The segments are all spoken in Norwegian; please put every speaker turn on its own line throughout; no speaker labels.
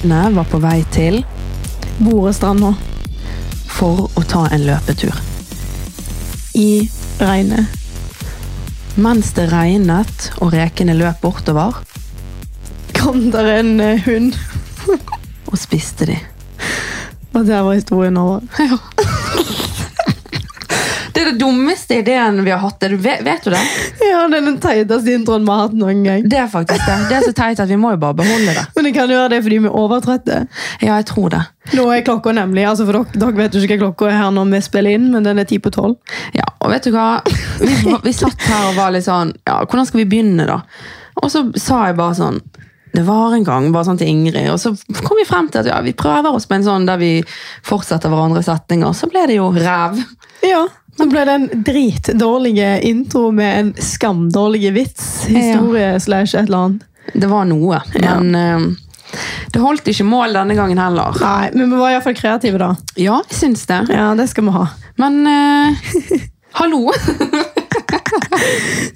jentene var på vei til Borestranda for å ta en løpetur. I regnet. Mens det regnet og rekene løp bortover, kom der en eh, hund og spiste de. Og der var historien over. Ja. Det er det dummeste ideen vi har hatt. Er du- Vet, vet du det?
Ja, det er den teiteste introen vi har hatt noen gang.
Det er faktisk det. Det er så teit at vi må jo bare beholde det.
Men det kan jo være det er fordi vi er overtrøtte.
Ja, jeg tror det.
Nå er klokka nemlig, altså for dere, dere vet jo ikke hva klokka er her når vi spiller inn, men den er ti på tolv.
Ja, og vet du hva? Vi, var- vi satt her og var litt sånn, ja, hvordan skal vi begynne da? Og så sa jeg bare sånn, det var en gang, bare sånn til Ingrid, og så kom vi frem til at ja, vi prøver oss på en sånn der vi fortsetter hverandre setninger, så ble det jo rev.
Ja, så ble det en dritdårlige intro med en skamdårlig vits, historie slash et eller annet.
Det var noe, men eh, det holdt ikke mål denne gangen heller.
Nei, men vi var iallfall kreative da.
Ja, jeg syns det.
Ja, det skal vi ha.
Men eh, hallo!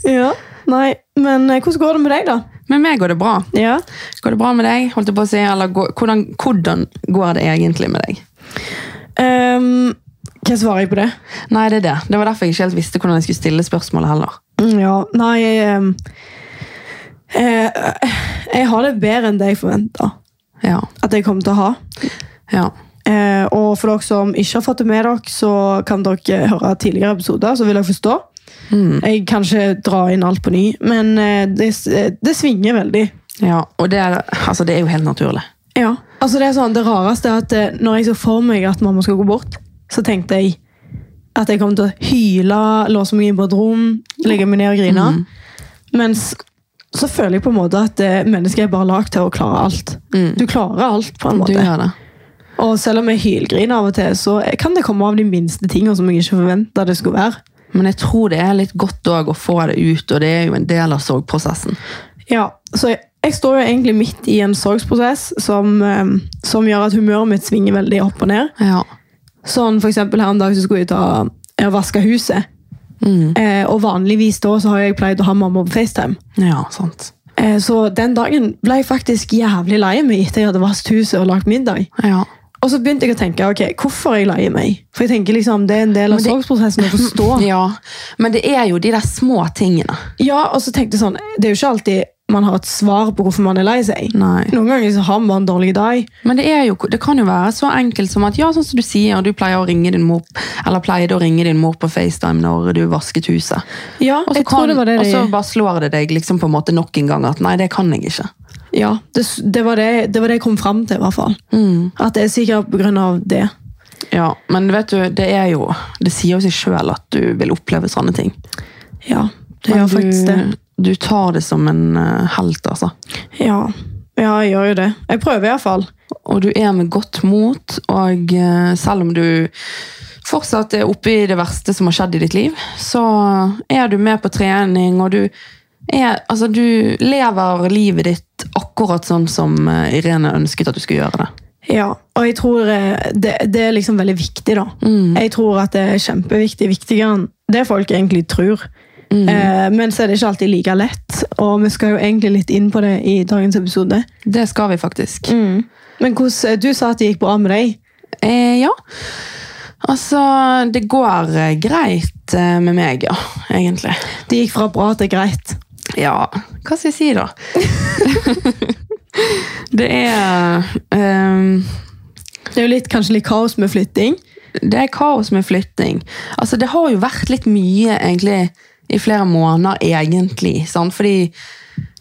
Ja, Nei, men eh, hvordan går det med deg da?
Med meg går det bra.
Ja.
Går det bra med deg? Holdt jeg på å si, eller går, hvordan, hvordan går det egentlig med deg?
Ehm, hva svarer jeg på det?
Nei, det er det. Det var derfor jeg ikke helt visste hvordan jeg skulle stille spørsmålet heller.
Mm, Ja, nei jeg, ehm, eh, jeg har det bedre enn det jeg forventa
Ja,
at jeg kommer til å ha.
ja.
Eh, og for dere som ikke har fått det med dere, så kan dere høre tidligere episoder, så vil dere forstå. Jeg kan ikke dra inn alt på ny, men eh, det, det svinger veldig.
ja. Og det er, altså, det er jo helt naturlig.
Ja. Altså det, er sånn, det rareste er at eh, når jeg så for meg at mamma skulle gå bort, så tenkte jeg at jeg kom til å hyle, låse meg inn på et rom, legge meg ned og grine. Mens så føler jeg på en måte at eh, mennesket er bare lagd til å klare alt. Du klarer alt, på en
Du
måte.
gjør det.
Og selv om jeg hylgriner av og til, så kan det komme av de minste tingene som jeg ikke forventa det skulle være.
Men jeg tror det er litt godt òg å få det ut, og det er jo en del av sorgprosessen.
Ja, så jeg, jeg står jo egentlig midt i en sorgsprosess som, eh, som gjør at humøret mitt svinger veldig opp og ned.
Ja.
Sånn for eksempel her en dag så skulle jeg ta jeg vaske huset.
Mm.
Eh, og vanligvis da så har jeg pleid å ha mamma på FaceTime.
ja, sant.
Eh, så den dagen ble jeg faktisk jævlig lei meg etter jeg hadde vasket huset og lagt middag.
Ja.
Og så begynte jeg å tenke ok, hvorfor er jeg lei meg. For jeg tenker liksom, det er en del av
Men det-
sorgsprosessen å forstå.
ja. Men det er jo de der små tingene.
Ja, og så tenkte jeg sånn, det er jo ikke alltid man har et svar på hvorfor man er lei seg.
Nei.
Noen ganger så har man bare en dårlig dag.
Men det, er jo, det kan jo være så enkelt som at ja, sånn som du sier, du pleier å ringe din mor, eller pleide å ringe din mor på FaceTime når du vasket huset.
Ja,
Og så
jeg tror
kan-
det var det
og
de...
så bare slår det deg liksom på en måte nok en gang at nei, det kan jeg ikke.
Ja, det, det, var det, det var det jeg kom frem til i hvert fall.
Mm.
At det er sikkert på grunn av det.
Ja, Men vet du, det er jo Det sier jo seg sjøl at du vil oppleve sånne ting.
Ja, det
Men
gjør
du,
faktisk det.
Du tar det som en eh, helt, altså.
Ja. ja, jeg gjør jo det. Jeg prøver iallfall.
Og du er med godt mot, og eh, selv om du fortsatt er oppe i det verste som har skjedd i ditt liv, så er du med på trening, og du er Altså, du lever livet ditt akkurat sånn som eh, Irene ønsket at du skulle gjøre det.
Ja, og jeg tror eh, det, det er liksom veldig viktig, da.
Mm.
Jeg tror at det er kjempeviktig, viktigere enn det folk egentlig tror.
Mm.
Eh, men så er det ikke alltid like lett, og vi skal jo egentlig litt inn på det i dagens episode.
Det skal vi faktisk.
Men hvordan, eh, du sa at det gikk bra med deg.
Eh, ja. Altså, det går eh, greit eh, med meg, ja. Egentlig.
Det gikk fra bra til greit.
Ja, hva skal jeg si da? det er ehm,
Det er jo litt, kanskje litt kaos med flytting.
Det er kaos med flytting. Altså, det har jo vært litt mye, egentlig, i flere måneder, egentlig. Sant? Fordi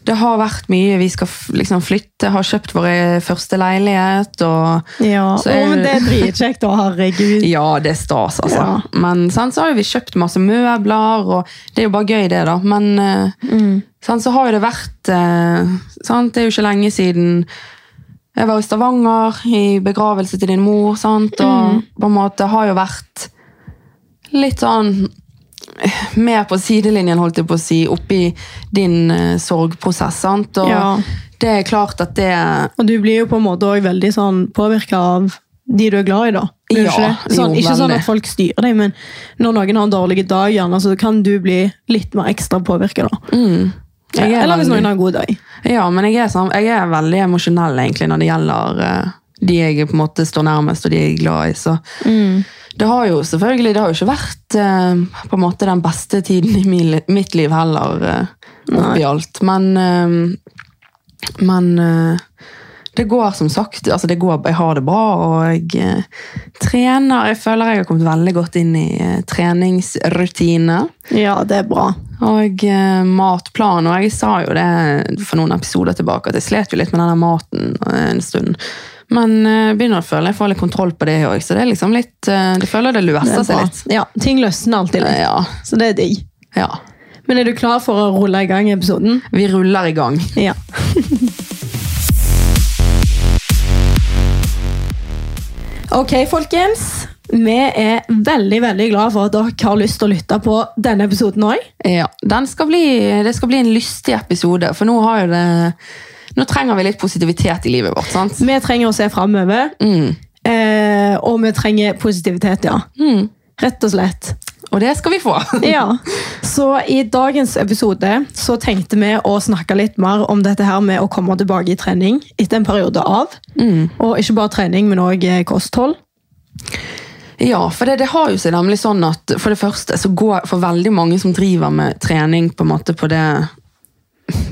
det har vært mye. Vi skal f- liksom flytte, har kjøpt vår første leilighet, og
Ja,
Så er
å, men
det-
det er dritkjekt, da. Herregud.
eh, Ja, det er stas, altså.
Ja.
Men sant, så har jo vi kjøpt masse møbler, og det er jo bare gøy, det, da. Men eh,
Mm.
sant, så har jo det vært eh, sant, Det er jo ikke lenge siden jeg var i Stavanger i begravelse til din mor, sant,
Mm.
og på en måte har jo vært litt sånn eh, med på sidelinjen, holdt jeg på å si, oppi din eh, sorgprosess. sant? Og
Ja.
det er klart at det
Og du blir jo på en måte også veldig sånn påvirka av de du er glad i, da. Blir du
Ja,
ikke, det? sånn,
jo,
ikke sånn
veldig.
at folk styrer deg, men når noen har en dårlig dag, gjerne, så kan du bli litt mer ekstra påvirka. da.
Mm. Jeg er
Eller hvis
veldig-
noen har en god dag.
Ja, men jeg er, sånn, jeg er veldig emosjonell egentlig når det gjelder eh, de jeg på en måte står nærmest og de jeg er glad i. Så det har jo selvfølgelig det har jo ikke vært eh, på en måte den beste tiden i min, li- mitt liv heller, eh, oppi alt. Men, eh, men eh, det går som sagt, altså det går, jeg har det bra, og jeg eh, trener. Jeg føler jeg har kommet veldig godt inn i eh, treningsrutiner.
Ja, det er bra.
Og eh, matplan, og jeg sa jo det for noen episoder tilbake, at jeg slet jo litt med denne maten eh, en stund. Men eh, jeg begynner å føle jeg får litt kontroll på det òg, så det er liksom litt eh, Det føler det
Det er
løser seg
bra.
litt.
Ja, ting løsner alltid litt.
Ja,
Så det er digg.
ja.
Men er du klar for å rulle i gang episoden?
Vi ruller i gang.
Ja. ok, folkens. Vi er veldig veldig glad for at dere har lyst til å lytte på denne episoden òg.
Ja, den skal bli, Det skal bli en lystig episode, for nå har jo det Nå trenger vi litt positivitet i livet vårt, sant?
Vi trenger å se framover,
Mm.
eh, og vi trenger positivitet, ja.
Mm.
Rett og slett.
Og det skal vi få.
Ja. Så i dagens episode så tenkte vi å snakke litt mer om dette her med å komme tilbake i trening etter en periode av.
Mm.
Og ikke bare trening, men òg kosthold.
Ja, for det, det har jo seg nemlig sånn at for det første så går for veldig mange som driver med trening på en måte på det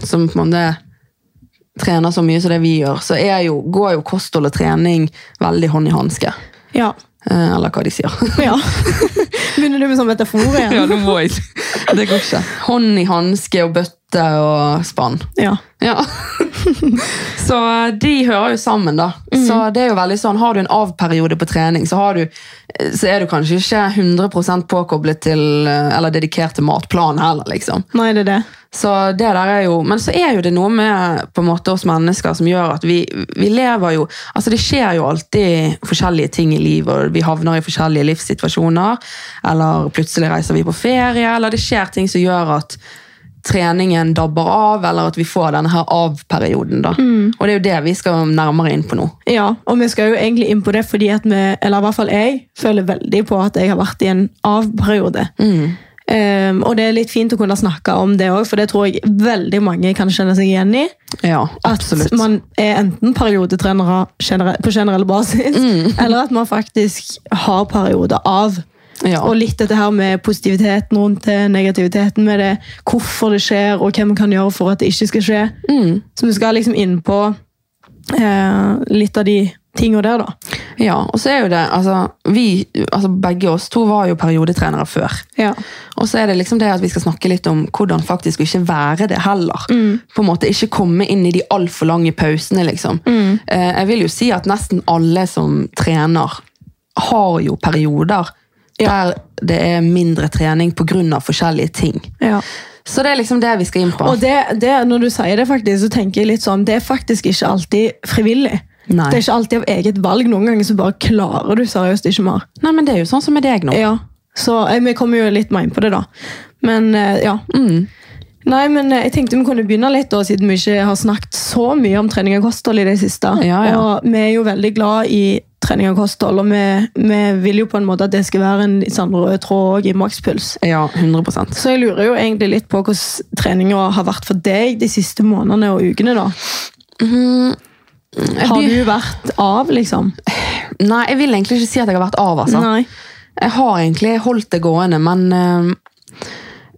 som på en måte trener så mye som det vi gjør, så er jo, går jo kosthold og trening veldig hånd i hanske.
Ja.
Eh, eller hva de sier.
ja. Begynner du med sånn metafor igjen?
nå må jeg. Det går ikke. Hånd i hanske og bøtte og spann.
Ja.
Ja. så eh, de hører jo sammen, da. Så det er jo veldig sånn, Har du en avperiode på trening, så, har du, eh, så er du kanskje ikke 100 påkoblet til eh, eller dedikert til matplan heller. liksom.
Nei, det er det.
Så det der er jo, Men så er jo det noe med på en måte oss mennesker som gjør at vi, vi lever jo altså Det skjer jo alltid forskjellige ting i livet, og vi havner i forskjellige livssituasjoner. Eller plutselig reiser vi på ferie, eller det skjer ting som gjør at treningen dabber av, eller at vi får denne her av-perioden. da. Og det er jo det vi skal nærmere inn på nå.
Ja, og vi skal jo egentlig inn på det fordi at vi, eller i hvert fall jeg, føler veldig på at jeg har vært i en av-periode. Ehm, og det er litt fint å kunne snakke om det òg, for det tror jeg veldig mange kan kjenne seg igjen i.
Ja,
At
absolutt.
man er enten periodetrenere genere- på generell basis, eller at man faktisk har perioder av.
Ja.
Og litt dette her med positiviteten rundt det, negativiteten med det, hvorfor det skjer, og hva man kan gjøre for at det ikke skal skje.
Mm.
Så vi skal liksom inn på eh, litt av de tingene der, da.
Ja, og så er jo det, altså, vi, altså Begge oss to var jo periodetrenere før.
Ja.
Og så er det liksom det at vi skal snakke litt om hvordan faktisk å ikke være det heller.
Mm.
På en måte Ikke komme inn i de altfor lange pausene, liksom.
Mm.
Eh, Jeg vil jo si at nesten alle som trener, har jo perioder der det er mindre trening pga. forskjellige ting. Så det er liksom det vi skal inn på.
Og det, det, når du sier det, faktisk, så tenker jeg litt sånn, det er faktisk ikke alltid frivillig.
Nei.
Det er ikke alltid av eget valg. Noen ganger så bare klarer du seriøst ikke mer.
Nei, men det er jo sånn som med deg nå.
Ja, så eh, vi kommer jo litt mer inn på det da. Men eh, ja.
Mm.
Nei, men eh, jeg tenkte vi kunne begynne litt da, siden vi ikke har snakket så mye om trening og kosthold i det siste.
Ja, ja.
Og vi er jo veldig glad i trening og kosthold, og vi, vi vil jo på en måte at det skal være en litt sånn rød tråd også i makspuls.
Ja, 100
Så jeg lurer jo egentlig litt på hvordan treningen har vært for deg de siste månedene og ukene da.
Mm.
Har du vært av, liksom?
Nei, jeg vil egentlig ikke si at jeg har vært av, altså.
Nei.
Jeg har egentlig holdt det gående, men eh,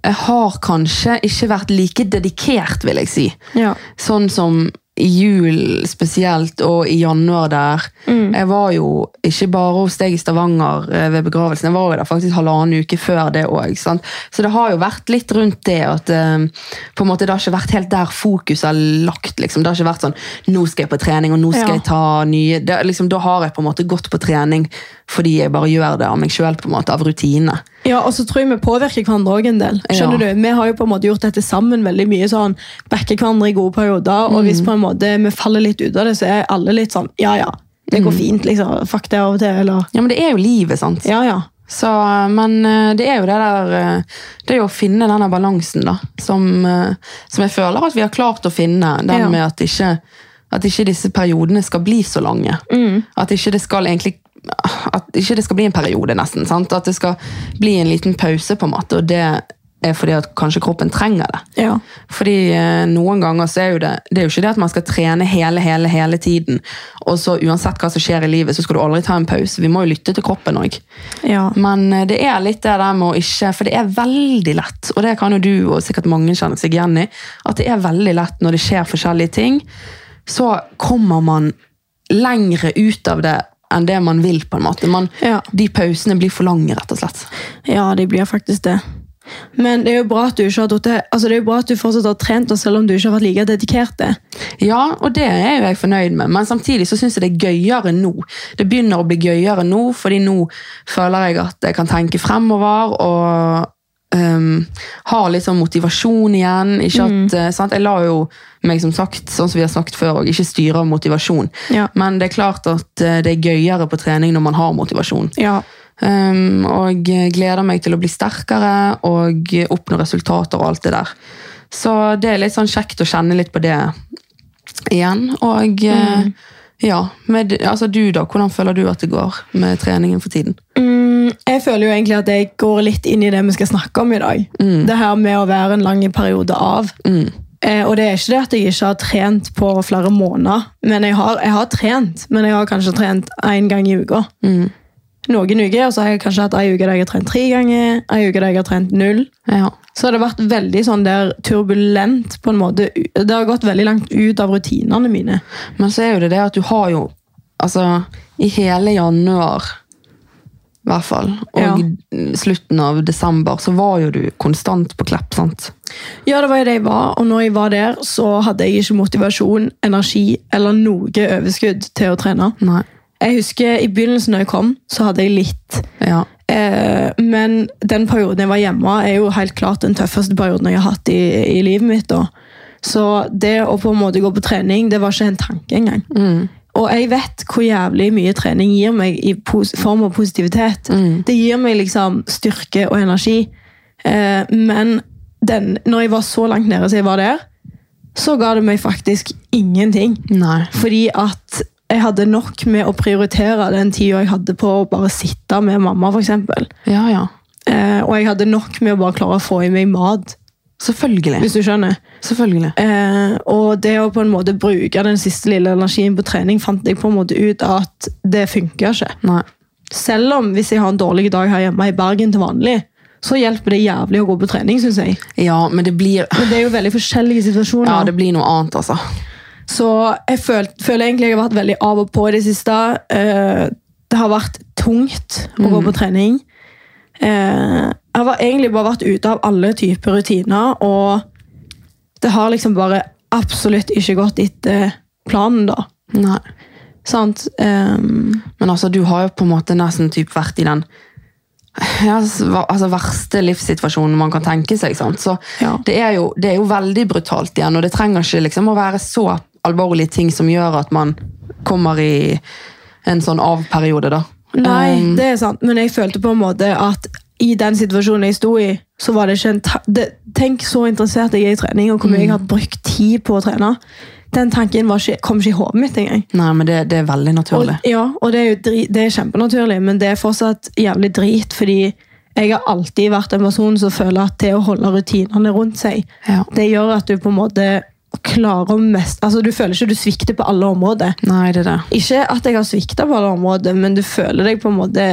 jeg har kanskje ikke vært like dedikert, vil jeg si.
Ja.
Sånn som i jul spesielt, og i januar der. Jeg var jo ikke bare hos deg i Stavanger eh, ved begravelsen, jeg var jo der faktisk halvannen uke før det òg. Så det har jo vært litt rundt det at eh, på en måte det har ikke vært helt der fokuset er lagt. liksom. Det har ikke vært sånn 'nå skal jeg på trening', og 'nå skal
Ja.
jeg ta nye det, er liksom, Da har jeg på en måte gått på trening fordi jeg bare gjør det av meg sjøl, av rutine.
Ja, og så tror jeg vi påvirker hverandre også en del. Skjønner
Ja.
du? Vi har jo på en måte gjort dette sammen veldig mye, sånn backer hverandre i gode perioder, og hvis på en måte vi faller litt ut av det, så er alle litt sånn, ja, ja, det går fint, liksom, fuck det av og til, eller,
Ja, men det er jo livet, sant?
ja, ja.
Så, men eh, det er jo det der eh, Det er jo å finne denne balansen, da. Som, eh, som jeg føler at vi har klart å finne. Den
Ja.
med at ikke, at ikke disse periodene skal bli så lange. At ikke det skal egentlig at ikke det skal bli en periode, nesten. sant? At det skal bli en liten pause, på en måte. Og det er fordi at kanskje kroppen trenger det.
Ja.
Fordi eh, noen ganger så er jo det Det er jo ikke det at man skal trene hele, hele, hele tiden. Og så uansett hva som skjer i livet, så skal du aldri ta en pause. Vi må jo lytte til kroppen òg.
ja.
Men eh, det er litt det der med å ikke For det er veldig lett, og det kan jo du og sikkert mange kjenne seg igjen i, at det er veldig lett når det skjer forskjellige ting, så kommer man lengre ut av det enn det man vil, på en måte. Man,
Ja.
De pausene blir for lange, rett og slett.
Ja, de blir faktisk det. Men det er jo bra at du ikke har tatt- altså det er jo bra at du fortsatt har trent, og selv om du ikke har vært like dedikert det.
Ja, og det er jo jeg fornøyd med, men samtidig så syns jeg det er gøyere nå. Det begynner å bli gøyere nå, fordi nå føler jeg at jeg kan tenke fremover og ehm, har litt sånn motivasjon igjen. Ikke at, eh, sant? Jeg lar jo meg, som sagt, sånn som vi har snakket før, og ikke styre av motivasjon.
Ja.
Men det er klart at eh, det er gøyere på trening når man har motivasjon.
Ja.
Ehm, og gleder meg til å bli sterkere og oppnå resultater og alt det der. Så det er litt sånn kjekt å kjenne litt på det igjen. Og eh, ja, med, altså du da, hvordan føler du at det går med treningen for tiden?
Mm, jeg føler jo egentlig at jeg går litt inn i det vi skal snakke om i dag. Det her med å være en lang periode av.
Mm.
Eh, og det er ikke det at jeg ikke har trent på flere måneder. Men jeg har, jeg har trent, men jeg har kanskje trent én gang i uka. Noen uker, og så har jeg kanskje hatt ei uke der jeg har trent tre ganger, ei uke der jeg har trent null.
Ja.
Så har det vært veldig sånn der turbulent, på en måte. Det har gått veldig langt ut av rutinene mine.
Men så er jo det det at du har jo Altså, i hele januar i hvert fall, og
Ja.
slutten av desember, så var jo du konstant på Klepp, sant?
Ja, det var jo det jeg var, og når jeg var der, så hadde jeg ikke motivasjon, energi eller noe overskudd til å trene.
Nei.
Jeg husker i begynnelsen når jeg kom, så hadde jeg litt.
Ja.
Eh, men den perioden jeg var hjemme, er jo helt klart den tøffeste perioden jeg har hatt i, i livet mitt. Da. Så det å på en måte gå på trening, det var ikke en tanke engang. Og jeg vet hvor jævlig mye trening gir meg i pos form av positivitet. Det gir meg liksom styrke og energi. Eh, men den, når jeg var så langt nede som jeg var der, så ga det meg faktisk ingenting.
Nei.
Fordi at jeg hadde nok med å prioritere den tida jeg hadde på å bare sitte med mamma, f.eks.
Ja, ja.
Eh, og jeg hadde nok med å bare klare å få i meg mat,
Selvfølgelig.
hvis du skjønner.
Selvfølgelig.
Eh, og det å på en måte bruke den siste lille energien på trening fant jeg på en måte ut at det funker ikke.
Nei.
Selv om hvis jeg har en dårlig dag her hjemme i Bergen til vanlig, så hjelper det jævlig å gå på trening, syns jeg.
Ja, men det blir
Men det er jo veldig forskjellige situasjoner.
Ja, det blir noe annet, altså.
Så jeg føl, føler egentlig jeg har vært veldig av og på i det siste. Eh, det har vært tungt å gå på trening. Eh, jeg har egentlig bare vært ute av alle typer rutiner, og det har liksom bare absolutt ikke gått etter planen, da.
Nei.
Sant? Ehm,
Men altså, du har jo på en måte nesten typ vært i den ja, s- va- altså, verste livssituasjonen man kan tenke seg. Sant? Så
Ja.
det, er jo, det er jo veldig brutalt igjen, og det trenger ikke liksom, å være så alvorlige ting som gjør at man kommer i en sånn av-periode, da.
Nei,
Um,
ehm, det er sant, men jeg følte på en måte at i den situasjonen jeg sto i, så var det ikke en ta det, Tenk så interessert jeg er i trening, og hvor mye jeg har brukt tid på å trene. Den tanken var ikke, kom ikke i hodet mitt engang.
Nei, men det, det er veldig
Og,
naturlig.
ja, og det er jo dri- det er kjempenaturlig, men det er fortsatt jævlig drit, fordi jeg har alltid vært en person som føler at det å holde rutinene rundt seg,
Ja.
det gjør at du på en måte klarer mest Altså, du føler ikke du svikter på alle områder.
Nei, det er det.
Ikke at jeg har svikta på alle områder, men du føler deg på en måte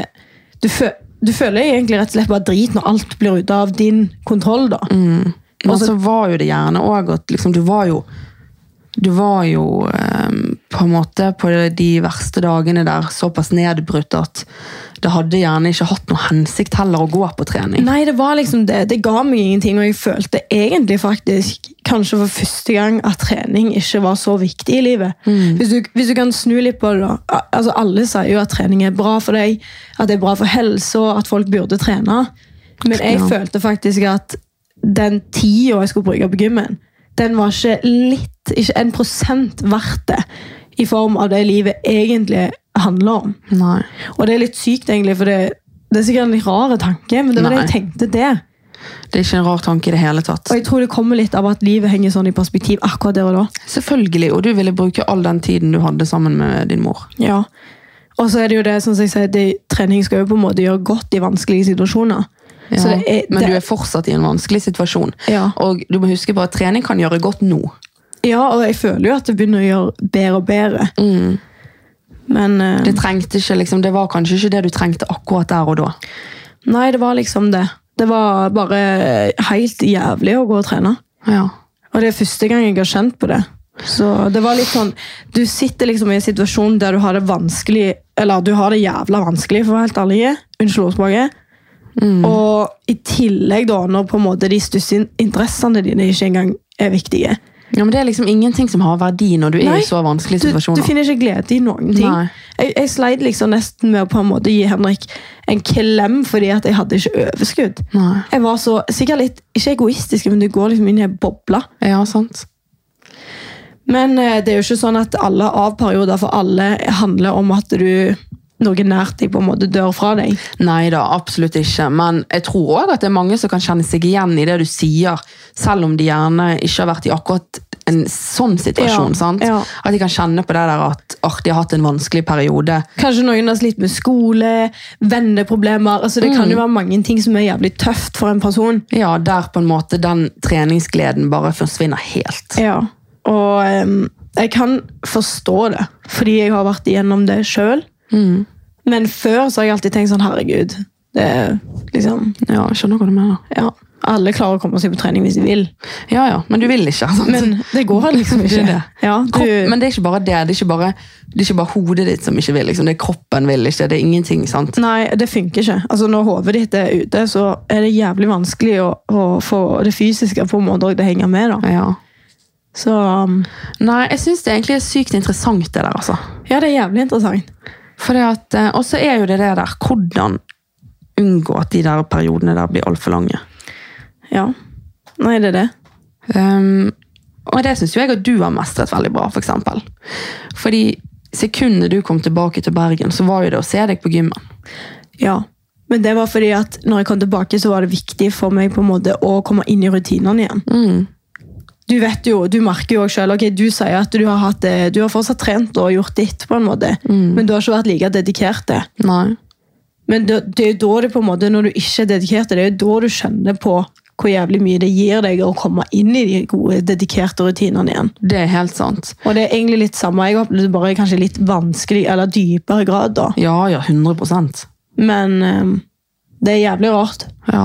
Du, fø, du føler deg egentlig rett og slett bare drit når alt blir ute av din kontroll, da.
Men
Altså-
så var jo det gjerne òg at liksom, du var jo Du var jo ehm, på en måte på de verste dagene der såpass nedbrutt at det hadde gjerne ikke hatt noe hensikt heller å gå på trening.
Nei, det var liksom det. Det ga meg ingenting, og jeg følte egentlig faktisk, kanskje for første gang, at trening ikke var så viktig i livet. Hvis, du, hvis du kan snu litt på det, da. Al- Altså, alle sier jo at trening er bra for deg, at det er bra for helse, og at folk burde trene. Men jeg
Ja.
følte faktisk at den tida jeg skulle bruke på gymmen, den var ikke litt, ikke en prosent verdt det, i form av det livet egentlig handler om.
Nei.
Og det er litt sykt, egentlig, for det, det er sikkert en litt rar tanke, men det var det jeg tenkte det.
Det er ikke en rar tanke i det hele tatt.
Og jeg tror det kommer litt av at livet henger sånn i perspektiv akkurat der og da.
Selvfølgelig, og du ville bruke all den tiden du hadde sammen med din mor.
Ja. Og så er det jo det, sånn som jeg sier, det, trening skal jo på en måte gjøre godt i vanskelige situasjoner.
Ja,
Så det er,
men du
det,
er fortsatt i en vanskelig situasjon.
Ja.
Og du må huske på at trening kan gjøre godt nå.
ja, og jeg føler jo at det begynner å gjøre bedre og bedre. Men eh,
Mm. Det trengte ikke, liksom, det var kanskje ikke det du trengte akkurat der og da.
nei, det var liksom det. Det var bare helt jævlig å gå og trene.
Ja.
Og det er første gang jeg har kjent på det. Så det var litt sånn, Du sitter liksom i en situasjon der du har det vanskelig, eller du har det jævla vanskelig, for å være helt ærlig. Unnskyld ordspråket.
Mm.
Og i tillegg, da, når på en måte de stussige interessene dine ikke engang er viktige.
ja, men Det er liksom ingenting som har verdi når du er
Nei,
i så vanskelige
Du, du
situasjoner.
finner ikke glede i noen ting.
Nei.
Jeg, jeg sleit liksom nesten med å på en måte gi Henrik en klem fordi at jeg hadde ikke overskudd.
Nei.
Jeg var så, sikkert litt, Ikke egoistisk, men du går liksom inn i en boble.
Ja, sant.
Men eh, det er jo ikke sånn at alle avperioder for alle handler om at du noe nært deg på en måte dør fra deg.
Nei da, absolutt ikke. Men jeg tror òg at det er mange som kan kjenne seg igjen i det du sier, selv om de gjerne ikke har vært i akkurat en sånn situasjon.
Ja,
sant?
ja.
At de kan kjenne på det der at «Åh, de har hatt en vanskelig periode.
Kanskje noen har slitt med skole, venneproblemer altså Det kan jo være mange ting som er jævlig tøft for en person.
Ja, der på en måte den treningsgleden bare forsvinner helt.
Ja. Og em, jeg kan forstå det, fordi jeg har vært igjennom det sjøl. Mm. Men før så har jeg alltid tenkt sånn Herregud. Det er liksom
Ja, jeg skjønner hva du mener.
Ja. Alle klarer å komme seg på trening hvis de vil,
Ja, ja, men du vil ikke. sant?
men det går liksom
Det
ikke.
er det.
Ja, du,
Kropp, men det er ikke bare det. Det er ikke bare, det er ikke bare hodet ditt som ikke vil. Liksom. Det er kroppen vil ikke. Det er ingenting. sant?
Nei, det funker ikke. Altså, når hodet ditt er ute, så er det jævlig vanskelig å, å få det fysiske på en måte også det henger med. da.
Ja.
Så um,
Nei, jeg syns det egentlig er sykt interessant, det der, altså.
ja, det er jævlig interessant.
For det at, eh, og så er jo det det der hvordan unngå at de der periodene der blir altfor lange.
Ja. Nei, det er det.
Ehm, og det syns jo jeg at du har mestret veldig bra, f.eks. For eksempel. Fordi sekundet du kom tilbake til Bergen, så var jo det å se deg på gymmen.
Ja. Men det var fordi at når jeg kom tilbake, så var det viktig for meg på en måte å komme inn i rutinene igjen. Du vet jo, du merker jo også selv, ok, du sier at du har, hatt, eh, du har fortsatt trent og gjort ditt, på en måte, men du har ikke vært like dedikert det.
Nei.
Men det, det er jo da det på en måte, når du ikke er dedikert, det er jo da du kjenner på hvor jævlig mye det gir deg å komme inn i de gode, dedikerte rutinene igjen.
Det er helt sant.
Og det er egentlig litt samme, jeg opplevde det bare i kanskje litt vanskelig, eller dypere grad da.
Ja, ja, 100
Men ehm, det er jævlig rart.
Ja.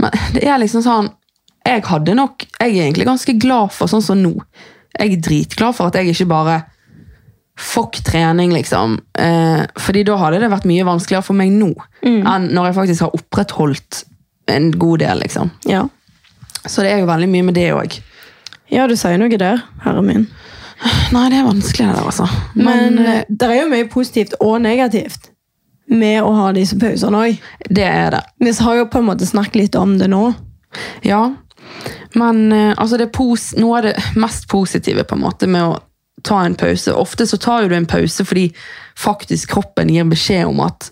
Men det er liksom sånn Jeg hadde nok Jeg er egentlig ganske glad for sånn som nå. Jeg er dritglad for at jeg ikke bare Fuck trening, liksom. Eh, fordi da hadde det vært mye vanskeligere for meg nå enn når jeg faktisk har opprettholdt en god del, liksom.
Ja.
Så det er jo veldig mye med det òg.
ja, du sier noe der, herre min.
Nei, det er vanskelig det der, altså. Men,
Men, eh, det er jo mye positivt og negativt med å ha disse pausene også.
det er det.
Vi har jo på en måte snakket litt om det nå.
Ja. Men eh, altså det er pos noe av det mest positive på en måte med å ta en pause. Ofte så tar jo du en pause fordi faktisk kroppen gir beskjed om at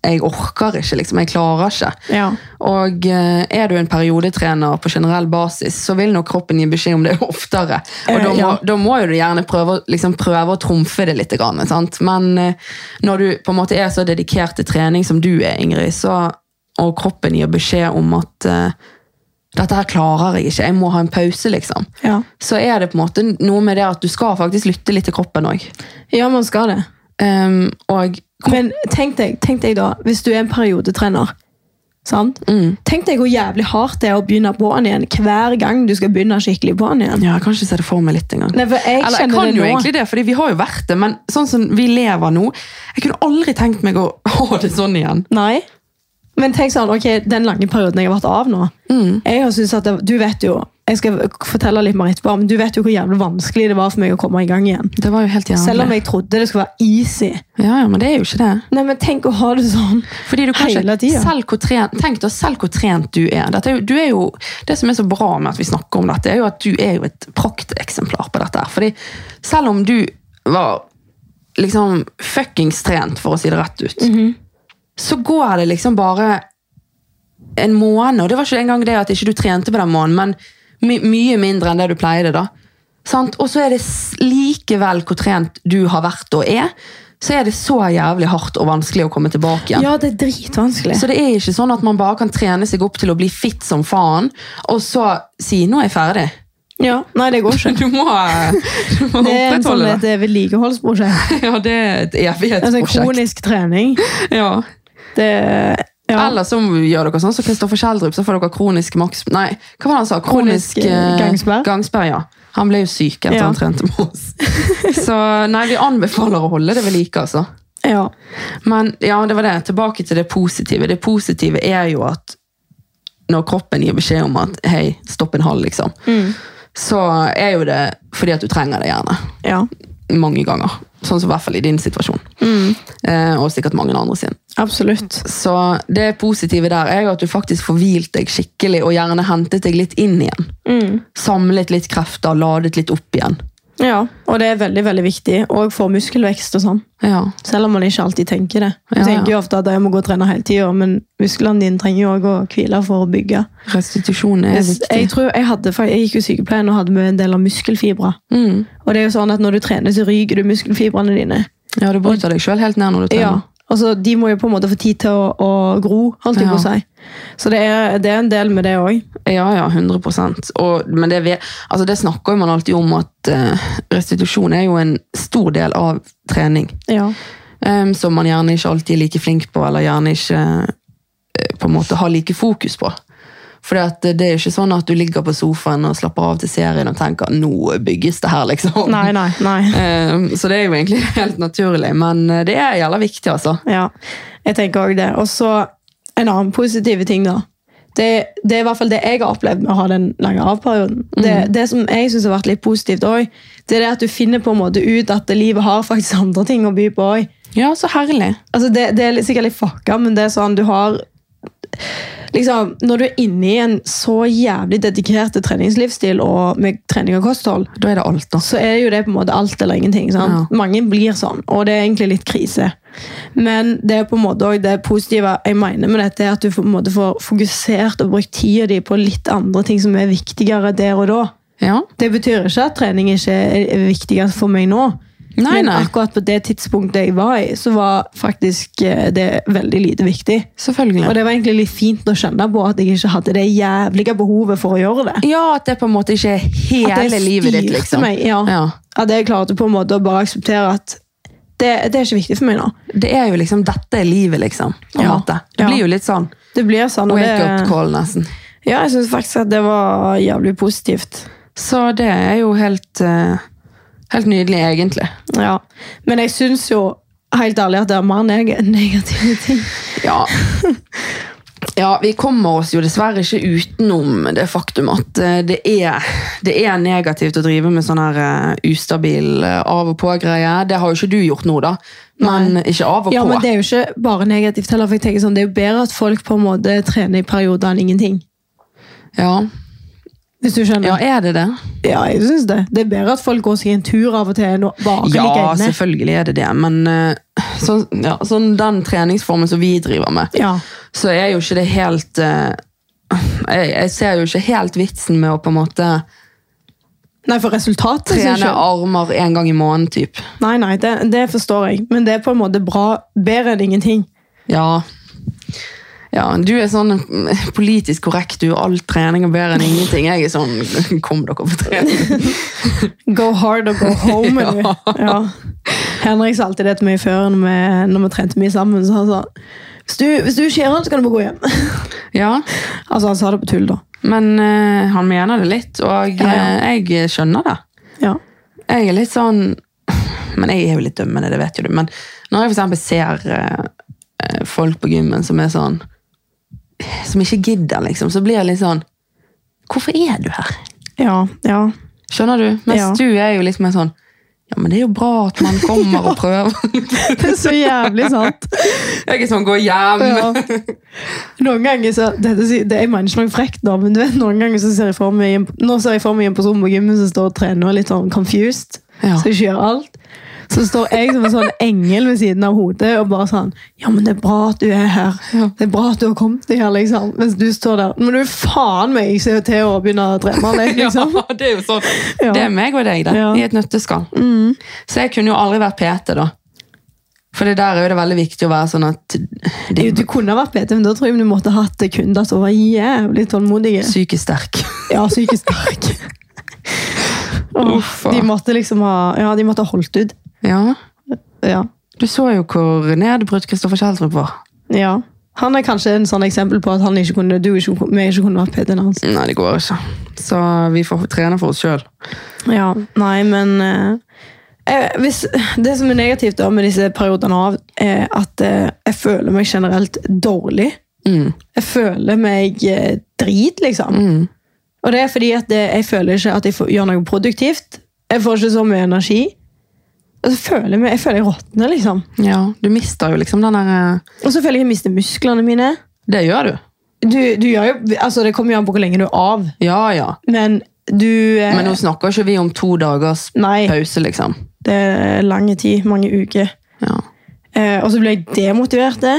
jeg orker ikke, liksom. Jeg klarer ikke.
Ja.
Og eh, er du en periodetrener på generell basis, så vil nok kroppen gi beskjed om det oftere. Og
Eh,
da må,
ja.
da må jo du gjerne prøve, å- liksom, prøve å trumfe det litt. Grann, sant? Men eh, når du på en måte er så dedikert til trening som du er, Ingrid, så, og kroppen gir beskjed om at eh, dette her klarer jeg ikke, jeg må ha en pause, liksom.
Ja.
Så er det på en måte noe med det at du skal faktisk lytte litt til kroppen òg.
ja, man skal det.
og
Men tenk deg, tenk deg da, hvis du er en periodetrener sant?
Mm.
Tenk deg hvor jævlig hardt det er å begynne på den igjen hver gang du skal begynne skikkelig på den igjen.
ja, jeg kan ikke se det for meg litt engang.
Nei, for jeg
Eller, jeg
kjenner
kan
det
jo
nå.
egentlig det, fordi vi har jo vært det, men sånn som vi lever nå Jeg kunne aldri tenkt meg å ha det sånn igjen.
Nei. Men tenk sånn, ok, den lange perioden jeg har vært av nå
Mm.
jeg har syntes at det, Du vet jo, jeg skal fortelle litt mer etterpå, men du vet jo hvor jævlig vanskelig det var for meg å komme i gang igjen.
Det var jo helt jævlig.
Selv om jeg trodde det skulle være easy.
ja, ja, men det er jo ikke det.
Nei, men tenk å ha det sånn.
Fordi du kan
Hele
ikke,
tiden.
selv hvor trent, tenk deg selv hvor trent du er. Dette er, jo, du er jo. Det som er så bra med at vi snakker om dette, er jo at du er jo et prakteksemplar på dette. her. Fordi selv om du var liksom fuckings trent, for å si det rett ut,
Mhm.
så går det liksom bare en måned, og det var ikke engang det at ikke du trente på den måneden, men my mye mindre enn det du pleide da. Sant? Og så er det s- likevel hvor trent du har vært og er, så er det så jævlig hardt og vanskelig å komme tilbake igjen.
Ja, det er dritvanskelig.
Så det er ikke sånn at man bare kan trene seg opp til å bli fit som faen, og så si 'nå er jeg ferdig'.
Ja, Nei, det går ikke.
Du må, du må
Det er en sånn
opprettholde
et
det.
eh, vedlikeholdsprosjekt.
Ja, det er et
Altså en
evighetsprosjekt.
kronisk trening.
Ja.
Det, ja.
Eller så gjør dere sånn som Kristoffer Kjeldrup, så får dere kronisk maks... Nei, hva var det han sa? Kronisk,
Kronisk, eh, gangsperre.
gangsperre, ja. Han ble jo syk etter
Ja.
han trente med oss. Så nei, vi anbefaler å holde det ved like, altså.
ja.
Men ja, det var det. Tilbake til det positive. Det positive er jo at når kroppen gir beskjed om at hei, stopp en halv, liksom,
Mm.
så er jo det fordi at du trenger det gjerne.
ja.
Mange ganger. Sånn som i hvert fall i din situasjon.
Mm.
Eh, og sikkert mange andre sin.
Absolutt.
Så det positive der er jo at du faktisk får hvilt deg skikkelig, og gjerne hentet deg litt inn igjen.
Mm.
Samlet litt krefter, ladet litt opp igjen.
Ja, og det er veldig veldig viktig. Og for muskelvekst og sånn.
Ja,
Selv om man ikke alltid tenker det. Du
Ja, ja.
tenker jo ofte at jeg må gå og trene hele tida, men musklene dine trenger jo også å hvile for å bygge.
Restitusjon er viktig.
Jeg, tror jeg, hadde, fa- jeg gikk jo sykepleien og hadde med en del av muskelfibre.
Mm.
Og det er jo sånn at når du trener, så ryker du muskelfibrene dine.
Ja, du bryter deg sjøl helt ned når du trener.
Ja, altså De må jo på en måte få tid til å, å gro, holdt jeg på å
Ja.
si. Så det er, det er en del med det òg.
Ja, ja, 100 og, Men det, vet- altså det snakker jo man alltid om at eh, restitusjon er jo en stor del av trening.
Ja.
em, som man gjerne ikke alltid er like flink på, eller gjerne ikke eh, på en måte har like fokus på. For det er jo ikke sånn at du ligger på sofaen og slapper av til serien og tenker 'nå bygges det her', liksom.
Nei, nei, nei.
Em, så det er jo egentlig helt naturlig, men eh, det er jævla viktig, altså.
Ja, jeg tenker også det. Og så en annen positiv ting, da. Det, det er i hvert fall det jeg har opplevd med å ha den lange avperioden. Det, det som jeg synes har vært litt positivt òg, det er det at du finner på en måte ut at livet har faktisk andre ting å by på òg.
Ja, så herlig.
Altså det, det er litt- sikkert litt fucka, men det er sånn du har liksom, Når du er inne i en så jævlig dedikert treningslivsstil og med trening og kosthold,
Da er det alt, da.
så er jo det på en måte alt eller ingenting. Sant?
Ja.
Mange blir sånn, og det er egentlig litt krise. Men det er på en måte også det positive jeg mener med dette, er at du på en måte får fokusert og brukt tida di på litt andre ting som er viktigere der og da.
Ja.
Det betyr ikke at trening ikke er viktigere for meg nå.
Nei,
Men
nei.
akkurat på det tidspunktet jeg var i, så var faktisk eh, det veldig lite viktig.
Selvfølgelig.
Og det var egentlig litt fint å skjønne på at jeg ikke hadde det jævlige behovet for å gjøre det.
Ja, at det på en måte ikke er
At det
hele livet ditt,
styrte
liksom.
Meg, ja.
Ja.
At jeg klarte på en måte å bare akseptere at det, det er ikke viktig for meg nå.
Det er jo liksom, dette er livet, liksom. På en
Ja.
måte. Det
Ja.
blir jo litt sånn
Det blir sånn. og det-
wake-up call, nesten.
Ja, jeg syns faktisk at det var jævlig positivt.
Så det er jo helt eh, Helt nydelig, egentlig.
Ja. Men jeg syns jo helt ærlig at det er mer neg negative ting.
Ja. ja, vi kommer oss jo dessverre ikke utenom det faktum at eh, det er, det er negativt å drive med sånn her eh, ustabil eh, av og på-greie. Det har jo ikke du gjort nå, da. Men ikke av og
Ja,
på.
men det er jo ikke bare negativt heller. for jeg tenker sånn, Det er jo bedre at folk på en måte trener i perioder enn ingenting.
Ja.
Hvis du skjønner?
ja, er det det?
Ja, jeg syns det. Det er bedre at folk går seg en tur av og til enn å bare
Ja,
ligge inne.
selvfølgelig er det det, men eh, sånn, ja, sånn den treningsformen som vi driver med,
Ja,
så er jo ikke det helt eh, jeg, jeg ser jo ikke helt vitsen med å på en måte
Nei, for resultatet i seg
trene
selv-
armer en gang i måneden, typ.
Nei, nei, det, det forstår jeg. Men det er på en måte bra, bedre enn ingenting.
Ja. ja. Du er sånn mm, politisk korrekt, du. All trening er bedre enn ingenting. Jeg er sånn Kom dere på trening.
Go hard og go home. er du. ja. Henrik sa alltid det til meg før når vi, når vi trente mye sammen. Så han sa hvis du, hvis du ikke gjør det, så kan du bare gå hjem.
Ja.
altså, han sa det på tull, da.
Men eh, han mener det litt, og eh, jeg skjønner det.
Ja.
Jeg er litt sånn Men jeg er jo litt dømmende, det vet jo du. Men når jeg for eksempel ser eh, eh, folk på gymmen som er sånn Som ikke gidder, liksom, så blir jeg litt sånn Hvorfor er du her?
Ja, ja.
Skjønner du? Mens
Ja.
du er jo litt mer sånn Ja, men det er jo bra at man kommer og prøver.
Det er så jævlig sant.
Jeg er sånn Gå hjem!
Ja. Noen ganger så, dette, sier- det, Jeg mener ikke noe frekt, da, men du vet, noen ganger så ser jeg for meg en- Nå ser jeg for meg en person på gymmen som står og trener og er litt sånn confused.
Ja.
Så ikke gjør alt. Så står jeg som en sånn engel ved siden av hodet og bare sånn Ja, men det er bra at du er her.
Ja.
Det er bra at du har kommet deg her, liksom. Mens du står der. Men du, faen meg, jeg ser jo til å begynne å trene deg, liksom.
Ja, det er jo sånn.
Ja.
Det er meg og deg, det.
Ja. Mm.
I et nøtteskall. Så jeg kunne jo aldri vært PT, da. For det der er jo det veldig viktig å være sånn at de
Jo, Du kunne ha vært bedre, men da tror jeg du måtte ha hatt kunder som var jævlig tålmodige.
psykisk sterke.
Ja, psykisk sterk.
Uff,
Åh, de måtte liksom ha Ja, de måtte ha holdt ut.
Ja.
Ja.
Du så jo hvor nedbrutt Kristoffer Kjeldrup var.
ja. Han er kanskje en sånn eksempel på at han ikke kunne, du ikke, vi ikke kunne vært bedre enn hans.
Nei, det går ikke. Så vi får trene for oss sjøl.
Ja, nei, men eh, eh, hvis, Det som er negativt da med disse periodene av, er at eh, jeg føler meg generelt dårlig.
Mm.
Jeg føler meg eh, drit, liksom.
Mm.
Og det er fordi at eh, jeg føler ikke at jeg får, gjør noe produktivt. Jeg får ikke så mye energi. Og så føler jeg, meg, jeg føler jeg råtner, liksom.
Ja, du mister jo liksom den der eh,
Og så føler jeg jeg mister musklene mine.
Det gjør du.
Du, du gjør jo, altså Det kommer jo an på hvor lenge du er av,
Ja, ja.
men du eh,
Men nå snakker ikke vi om to dagers
Nei,
pause, liksom.
det er lang tid. Mange uker.
Ja.
Eh, og så blir jeg demotivert. det.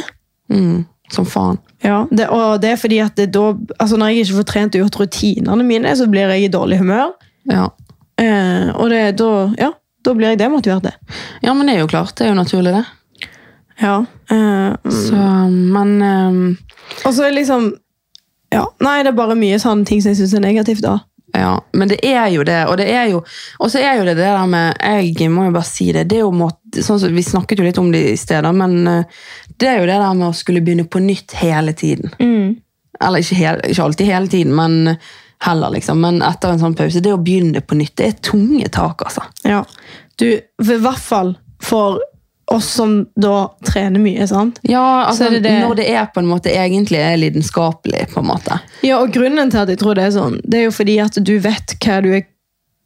Mm. Som faen.
Ja, det, og det er fordi at det da, altså når jeg ikke får trent og gjort rutinene mine, så blir jeg i dårlig humør.
Ja.
Eh, og det, da, ja, da blir jeg demotivert. det.
ja, men det er jo klart. Det er jo naturlig, det.
Ja. Eh, mm.
Så, men eh,
og så er liksom ja, Nei, det er bare mye sånne ting som jeg syns er negativt. da.
Ja, men det er jo det, og det er jo og så er jo det det der med Jeg må jo bare si det. det er jo må, sånn som, vi snakket jo litt om det i stedet, men eh, det er jo det der med å skulle begynne på nytt hele tiden. Eller ikke, hel, ikke alltid hele tiden, men heller, liksom. Men etter en sånn pause. Det å begynne på nytt, det er tunge tak, altså.
Ja. Du, for, I hvert fall for oss som da trener mye. sant?
Ja,
altså,
altså
når
Når det er på en måte egentlig er lidenskapelig, på en måte.
Ja, og Grunnen til at jeg tror det er sånn, det er jo fordi at du vet hva du er,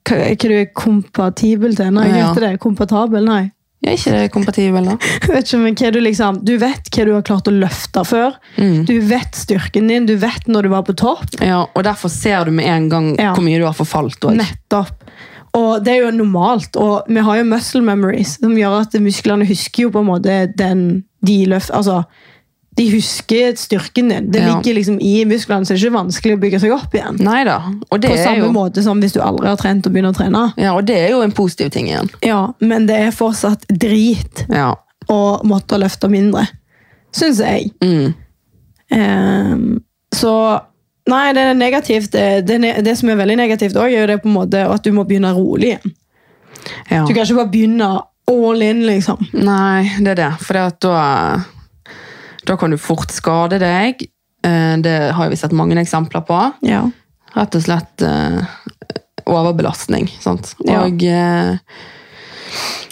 hva, hva du er kompatibel til. Nei,
Ja.
heter det kompatibel? Nei.
Ja, ikke det kompatibel, da?
vet ikke, men hva du, liksom, du vet hva du har klart å løfte før.
Mm.
Du vet styrken din, du vet når du var på topp.
Ja, og derfor ser du med en gang
Ja.
hvor mye du har forfalt. også.
Nettopp. Og det er jo normalt, og vi har jo muscle memories, som gjør at musklene husker jo på en måte den de løft... Altså, de husker styrken din. Det
Ja.
ligger liksom i musklene, så det er ikke vanskelig å bygge seg opp igjen.
Neida, Og det
På
er
samme
jo
måte som hvis du aldri har trent og begynner å trene.
Ja, og det er jo en positiv ting igjen.
Ja, Men det er fortsatt drit
Ja.
å måtte løfte mindre, syns jeg.
Mm.
Ehm, så Nei, det er negativt. Det, det, ne- det som er veldig negativt òg, er jo det på en måte at du må begynne rolig igjen.
ja.
Du kan ikke bare begynne all in, liksom.
Nei, det er det. For det at da Da kan du fort skade deg. Eh, Det har vi sett mange eksempler på.
Ja.
Rett og slett eh, overbelastning. Sant?
Ja.
Og eh,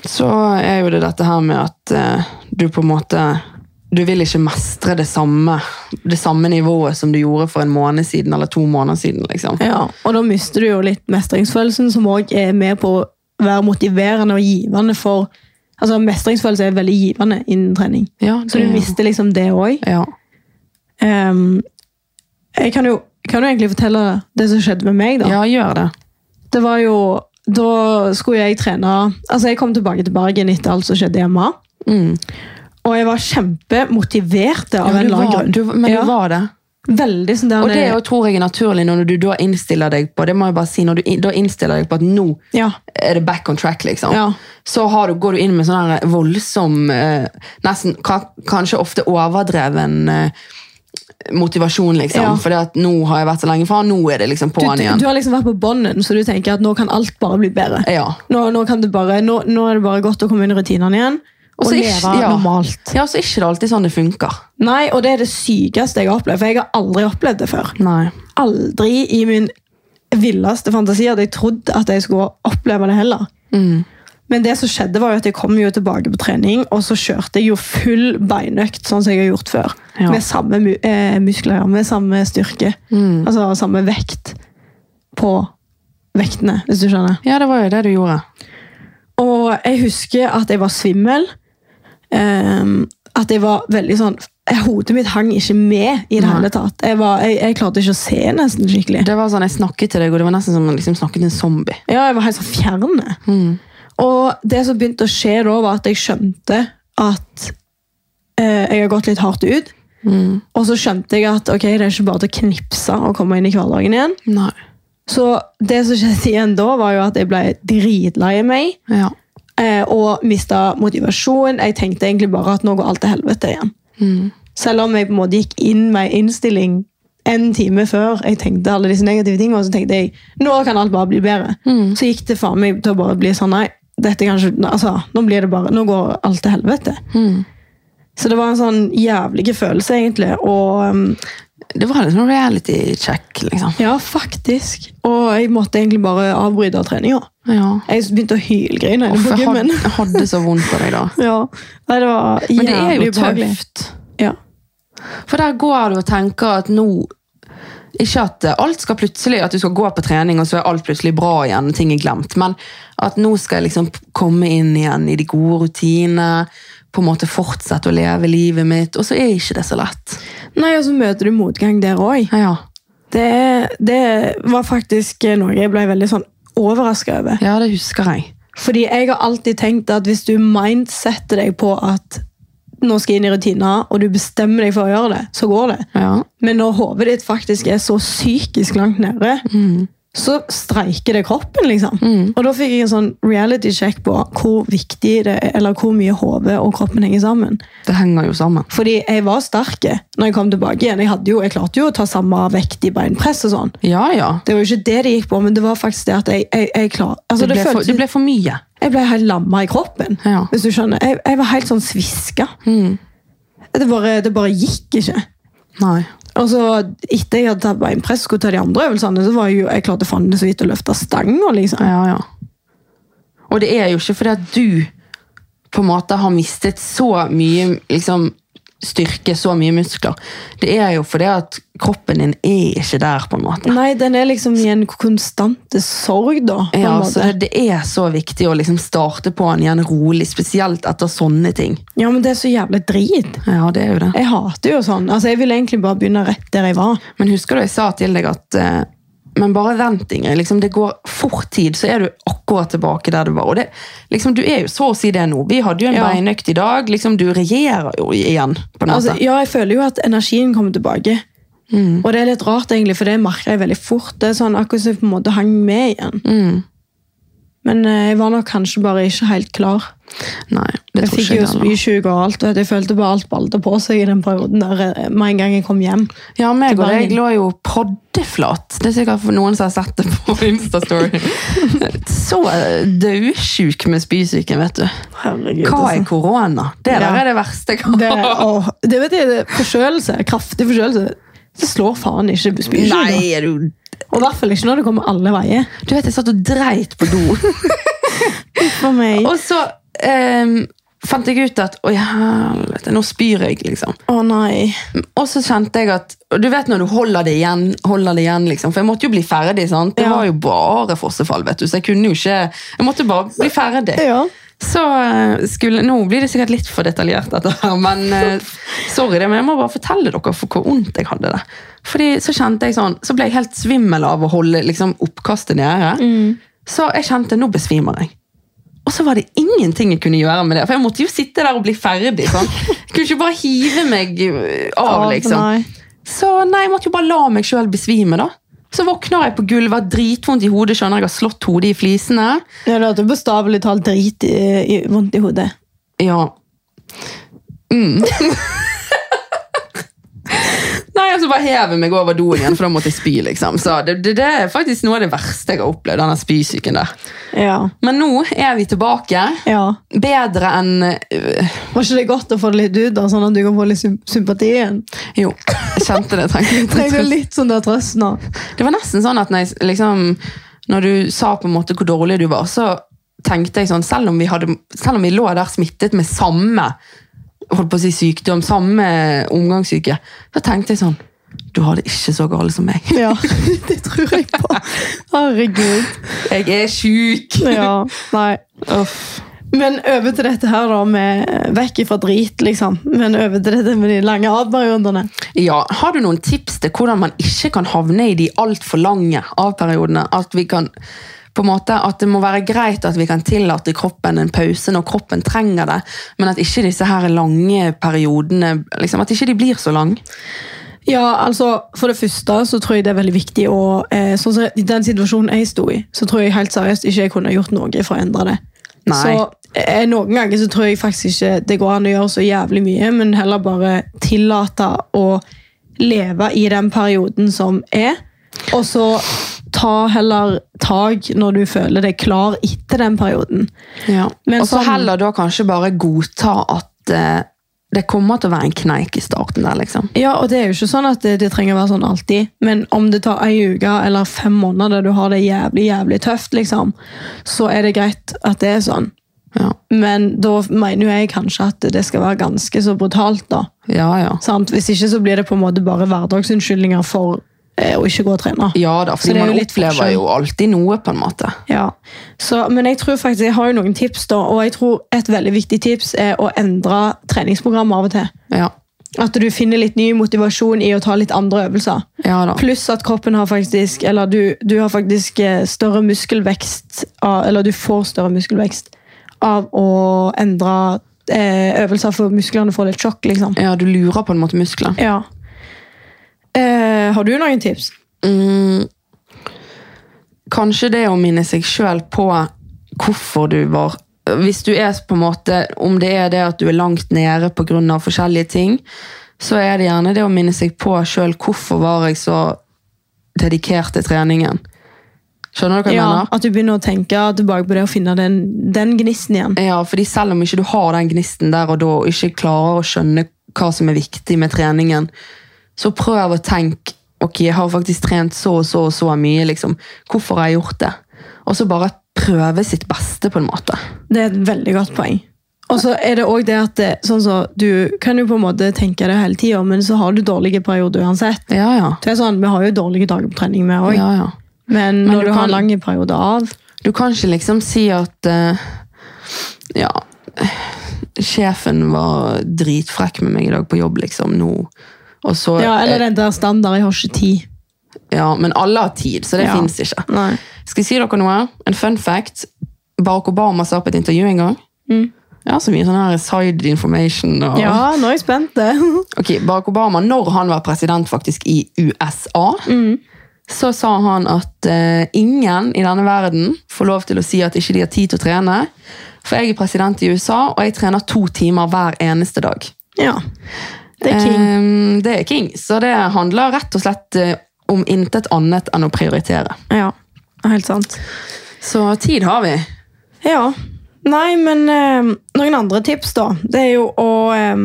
så er jo det dette her med at eh, du på en måte Du vil ikke mestre det samme, det samme nivået som du gjorde for en måned siden eller to måneder siden. liksom.
Og da mister du jo litt mestringsfølelsen, som òg er med på å være motiverende og givende for Altså, Mestringsfølelse er veldig givende innen trening,
Ja,
så du
det-
mister liksom det òg.
Ja.
Ehm, jeg kan jo, kan jo egentlig fortelle det som skjedde med meg, da.
ja, gjør det.
det var jo Da skulle jeg trene Altså, jeg kom tilbake til Bergen etter alt som skjedde hjemme.
Mm.
Og jeg var kjempemotivert av
Ja,
en
du
eller
var,
annen grunn.
du, men
Ja.
du var det.
Veldig sånn der
Og det
nede.
jo, tror jeg er naturlig når du da innstiller deg på det må jeg bare si, når du in- da innstiller deg på at nå
ja.
er det back on track, liksom.
Ja.
Så har du, går du inn med sånn her voldsom, eh, nesten ka- kanskje ofte overdreven eh, motivasjon, liksom.
Ja.
Fordi at nå har jeg vært så lenge fra, nå er det liksom
Du,
på'n
du,
igjen.
du har liksom vært på bånden, så du tenker at nå kan alt bare bli bedre.
ja.
Nå, nå, kan det bare, nå, nå er det bare godt å komme inn i rutinene igjen og,
Og så
leve
ikke- ja.
normalt.
ja, så er ikke det alltid sånn det funker.
Nei, og det er det sykeste jeg har opplevd, for jeg har aldri opplevd det før.
Nei.
Aldri i min villeste fantasi hadde jeg trodd at jeg skulle oppleve det heller.
Mm.
Men det som skjedde var jo at jeg kom jo tilbake på trening, og så kjørte jeg jo full beinøkt, sånn som jeg har gjort før.
Ja.
Med samme mu eh, muskler, med samme styrke.
Mm.
Altså samme vekt på vektene, hvis du skjønner.
Ja, det var jo det du gjorde.
Og jeg husker at jeg var svimmel. ehm, at jeg var veldig sånn eh, Hodet mitt hang ikke med i det
Nei.
hele tatt. Jeg, var, jeg, jeg klarte ikke å se nesten skikkelig.
Det var sånn, Jeg snakket til deg, og det var nesten som om jeg liksom snakket til en zombie.
Ja, jeg var helt sånn fjerne.
Mm.
Og det som begynte å skje da, var at jeg skjønte at eh, jeg har gått litt hardt ut.
Mm.
Og så skjønte jeg at ok, det er ikke bare til å knipse og komme inn i hverdagen igjen.
Nei.
Så det som skjedde igjen da, var jo at jeg ble dritlei meg.
Ja.
eh, og mista motivasjon. Jeg tenkte egentlig bare at nå går alt til helvete igjen.
Mm.
Selv om jeg på en måte gikk inn med en innstilling en time før jeg tenkte alle disse negative tingene, så tenkte jeg nå kan alt bare bli bedre.
Mm.
Så gikk det faen meg til å bare bli sånn nei, dette kan ikke, altså, nå, blir det bare, nå går alt til helvete.
Mm.
Så det var en sånn jævlig følelse, egentlig. Og um,
Det var litt sånn reality check, liksom.
ja, faktisk. Og jeg måtte egentlig bare avbryte treninga.
Ja.
Jeg begynte å hylgrine
Uff,
inne på
jeg had-
gymmen.
jeg hadde så vondt for deg da.
Ja, Nei, det var jævlig
Men det er jo
ubehagelig.
tøft.
Ja.
For der går du og tenker at nå ikke at eh, alt skal plutselig, at du skal gå på trening, og så er alt plutselig bra igjen, og ting er glemt, men at nå skal jeg liksom p- komme inn igjen i de gode rutinene, på en måte fortsette å leve livet mitt, og så er ikke det så lett.
Nei, og så møter du motgang der òg.
Ja, ja.
Det, det var faktisk noe jeg ble veldig sånn overraska over.
ja det husker jeg.
Fordi jeg har alltid tenkt at hvis du mindsetter deg på at nå skal jeg inn i rutiner, og du bestemmer deg for å gjøre det, så går det.
Ja,
Men når hodet ditt faktisk er så psykisk langt nede, så streiker det kroppen, liksom. Og da fikk jeg en sånn reality check på hvor viktig det er, eller hvor mye hodet og kroppen henger sammen.
det henger jo sammen.
Fordi jeg var sterk når jeg kom tilbake igjen. Jeg, hadde jo, jeg klarte jo å ta samme vekt i beinpress og sånn.
Ja, ja.
Det var jo ikke det det gikk på, men det var faktisk det at jeg, jeg, jeg klar, altså
Det
det
ble, for,
føltes-
det ble for mye.
Jeg ble helt lamma i kroppen.
Ja. Mm.
Hvis du skjønner. Jeg, jeg var helt sånn sviska. Det, bare, det bare gikk ikke.
Nei.
Og så Etter jeg hadde tatt beinpress og skulle ta de andre øvelsene, så var jeg jo, jeg klarte faen så vidt å løfte stanga. Liksom.
Ja, ja. Og det er jo ikke fordi at du på en måte har mistet så mye liksom, styrke, så mye muskler. Det er jo fordi at kroppen din er ikke der, på en måte.
Nei, den er liksom i en konstante sorg, da. På en
Ja, så
måte.
det er så viktig å liksom starte på den igjen rolig, spesielt etter sånne ting.
ja, men det er så jævlig drit.
Ja, det er jo det.
Jeg hater jo sånn. Altså, Jeg ville egentlig bare begynne rett der jeg var.
Men husker du jeg sa til deg at eh, men bare vent, Ingrid. Liksom, det går fort tid, så er du akkurat tilbake der du var. Og det, liksom, du er jo så å si det nå. Vi hadde jo en
Ja.
beinøkt i dag. Liksom, du regjerer jo igjen. på en måte. Mm.
Altså, ja, jeg føler jo at energien kommer tilbake. Og det er litt rart, egentlig, for det merker jeg veldig fort. Det er sånn akkurat som jeg på en måte hang med igjen.
Mm.
Men eh, jeg var nok kanskje bare ikke helt klar.
Nei, det
Jeg
tror
fikk
ikke jeg
jo
heller.
spysjuke og alt. vet du. Jeg følte bare alt balde på seg i den perioden der eh, med en gang jeg kom hjem.
Ja, meg og
Bergen.
deg lå jo paddeflat. Det er sikkert for noen som har sett det på Instastory. Så daudsjuk med spysyken, vet du.
Herregud,
Hva er
altså.
korona? Det der
Ja.
er det verste. jeg kan-
Det, åh, det vet jeg, det er forkjølelse. Kraftig forkjølelse. Det slår faen ikke spysjuke.
Nei, er du
Og i hvert fall ikke når det kommer alle veier.
Du vet, jeg satt og dreit på do.
For meg.
Og så ehm, fant jeg ut at Å, helvete, nå spyr jeg, liksom.
Å nei.
Og så kjente jeg at og Du vet når du holder det igjen, holder det igjen liksom. for jeg måtte jo bli ferdig. sant? Det
Ja.
var jo bare fossefall, vet du, så jeg kunne jo ikke Jeg måtte bare bli ferdig.
Ja.
Så eh, skulle, Nå blir det sikkert litt for detaljert, dette her, men eh, sorry det, men jeg må bare fortelle dere for hvor vondt jeg hadde det. Fordi Så kjente jeg sånn, så ble jeg helt svimmel av å holde liksom, oppkastet nede. Så jeg kjente nå besvimer jeg. Og så var det ingenting jeg kunne gjøre med det. For jeg måtte jo sitte der og bli ferdig. Sånn. Jeg kunne ikke bare hive meg eh, av,
Av, nei.
liksom. Så nei, jeg måtte jo bare la meg sjøl besvime, da. Så våkner jeg på gulvet, har dritvondt i hodet, skjønner jeg har slått hodet i flisene.
Ja, du hadde bestavelig talt drit i, i, vondt i hodet.
Ja. Mm. Nei, altså bare heve meg over doen igjen, for da måtte jeg spy. liksom. Så det, det, det er faktisk noe av det verste jeg har opplevd. denne spysyken der.
Ja.
Men nå er vi tilbake.
ja.
Bedre enn øh,
Var ikke det godt å få det litt ut, da, sånn at du kan få litt sym- sympati igjen?
Jo, jeg kjente det. Trengte litt
Trenger du
trøst.
litt sånn der trøst nå?
Det var nesten sånn at når, jeg, liksom, når du sa på en måte hvor dårlig du var, så tenkte jeg sånn, selv om vi, hadde, selv om vi lå der smittet med samme holdt på å si sykdom, samme omgangssyke, så tenkte jeg sånn, du har det ikke så galt som meg.
Ja, det tror jeg på. Herregud.
Jeg er syk!
Ja, nei.
Uff.
Men over til dette her, da, med vekk ifra drit, liksom. Men over til dette med de lange avperiodene.
Ja, har du noen tips til hvordan man ikke kan havne i de altfor lange avperiodene? At vi kan på en måte, at det må være greit at vi kan tillate kroppen en pause når kroppen trenger det, men at ikke disse her lange periodene liksom, at ikke de blir så lange.
Ja, altså, For det første så tror jeg det er veldig viktig å eh, sånn som I den situasjonen jeg sto i, så tror jeg helt seriøst ikke jeg kunne gjort noe for å endre det.
Nei.
Så eh, Noen ganger så tror jeg faktisk ikke det går an å gjøre så jævlig mye, men heller bare tillate å leve i den perioden som er, og så ta heller tak når du føler deg klar etter den perioden.
Ja.
Men
Og så
sånn-
heller da kanskje bare godta at eh, det kommer til å være en kneik i starten der, liksom.
Ja, og det er jo ikke sånn at det, det trenger å være sånn alltid, men om det tar ei uke eller fem måneder der du har det jævlig, jævlig tøft, liksom, så er det greit at det er sånn.
Ja,
Men da mener jo jeg kanskje at det skal være ganske så brutalt, da.
ja. Ja,
Sant? Hvis ikke så blir det på en måte bare hverdagsunnskyldninger for eh, å ikke gå og trene.
ja da,
Så det
fordi
er
man
jo litt
opplever
forskjell.
jo alltid noe, på en måte.
Ja. Så, men jeg tror faktisk, jeg har jo noen tips, da, og jeg tror et veldig viktig tips er å endre treningsprogram av og til.
Ja,
At du finner litt ny motivasjon i å ta litt andre øvelser.
ja da.
Pluss at kroppen har faktisk Eller du, du har faktisk eh, større muskelvekst av, Eller du får større muskelvekst av å endre eh, øvelser, for musklene får litt sjokk, liksom.
Ja, du lurer på en måte muskler.
Ja. Eh, har du noen tips?
Mm, kanskje det å minne seg sjøl på hvorfor du var Hvis du er på en måte Om det er det at du er langt nede pga. forskjellige ting, så er det gjerne det å minne seg på sjøl hvorfor var jeg så dedikert til treningen. Skjønner du hva jeg
Ja,
mener?
at du begynner å tenke tilbake på det og finne den, den gnisten igjen.
Ja, fordi selv om ikke du har den gnisten der og da, og ikke klarer å skjønne hva som er viktig med treningen, så prøv å tenke ok, jeg har faktisk trent så og så og så mye. liksom. Hvorfor har jeg gjort det? Og så bare prøve sitt beste, på en måte.
Det er et veldig godt poeng. Og så er det også det at det, sånn så, du kan jo på en måte tenke det hele tida, men så har du dårlige perioder uansett.
Ja, ja.
Det er sånn, Vi har jo dårlige dager på trening, vi òg.
ja, ja.
Men,
Men
når
du
du, har
kan-
lange perioder av
Du kan ikke liksom si at eh, Ja eh, Sjefen var dritfrekk med meg i dag på jobb, liksom. Nå. Og så, eh,
Ja, eller den der standard, jeg har ikke tid.
ja, men alle har tid, så det
Ja.
finnes fins ikke.
Nei.
Skal jeg si dere noe? En fun fact. Barack Obama sa på et intervju en gang Ja, så mye sånn her side information. Og...
Ja, nå er jeg spent.
Ok, Barack Obama, når han var president faktisk i USA, så sa han at eh, ingen i denne verden får lov til å si at ikke de har tid til å trene. For jeg er president i USA, og jeg trener to timer hver eneste dag.
ja. Det er king.
Eh, det er king. Så det handler rett og slett eh, om intet annet enn å prioritere.
Eh, Ja, helt sant.
Så tid har vi.
Ja. Nei, men eh, noen andre tips, da. Det er jo å eh,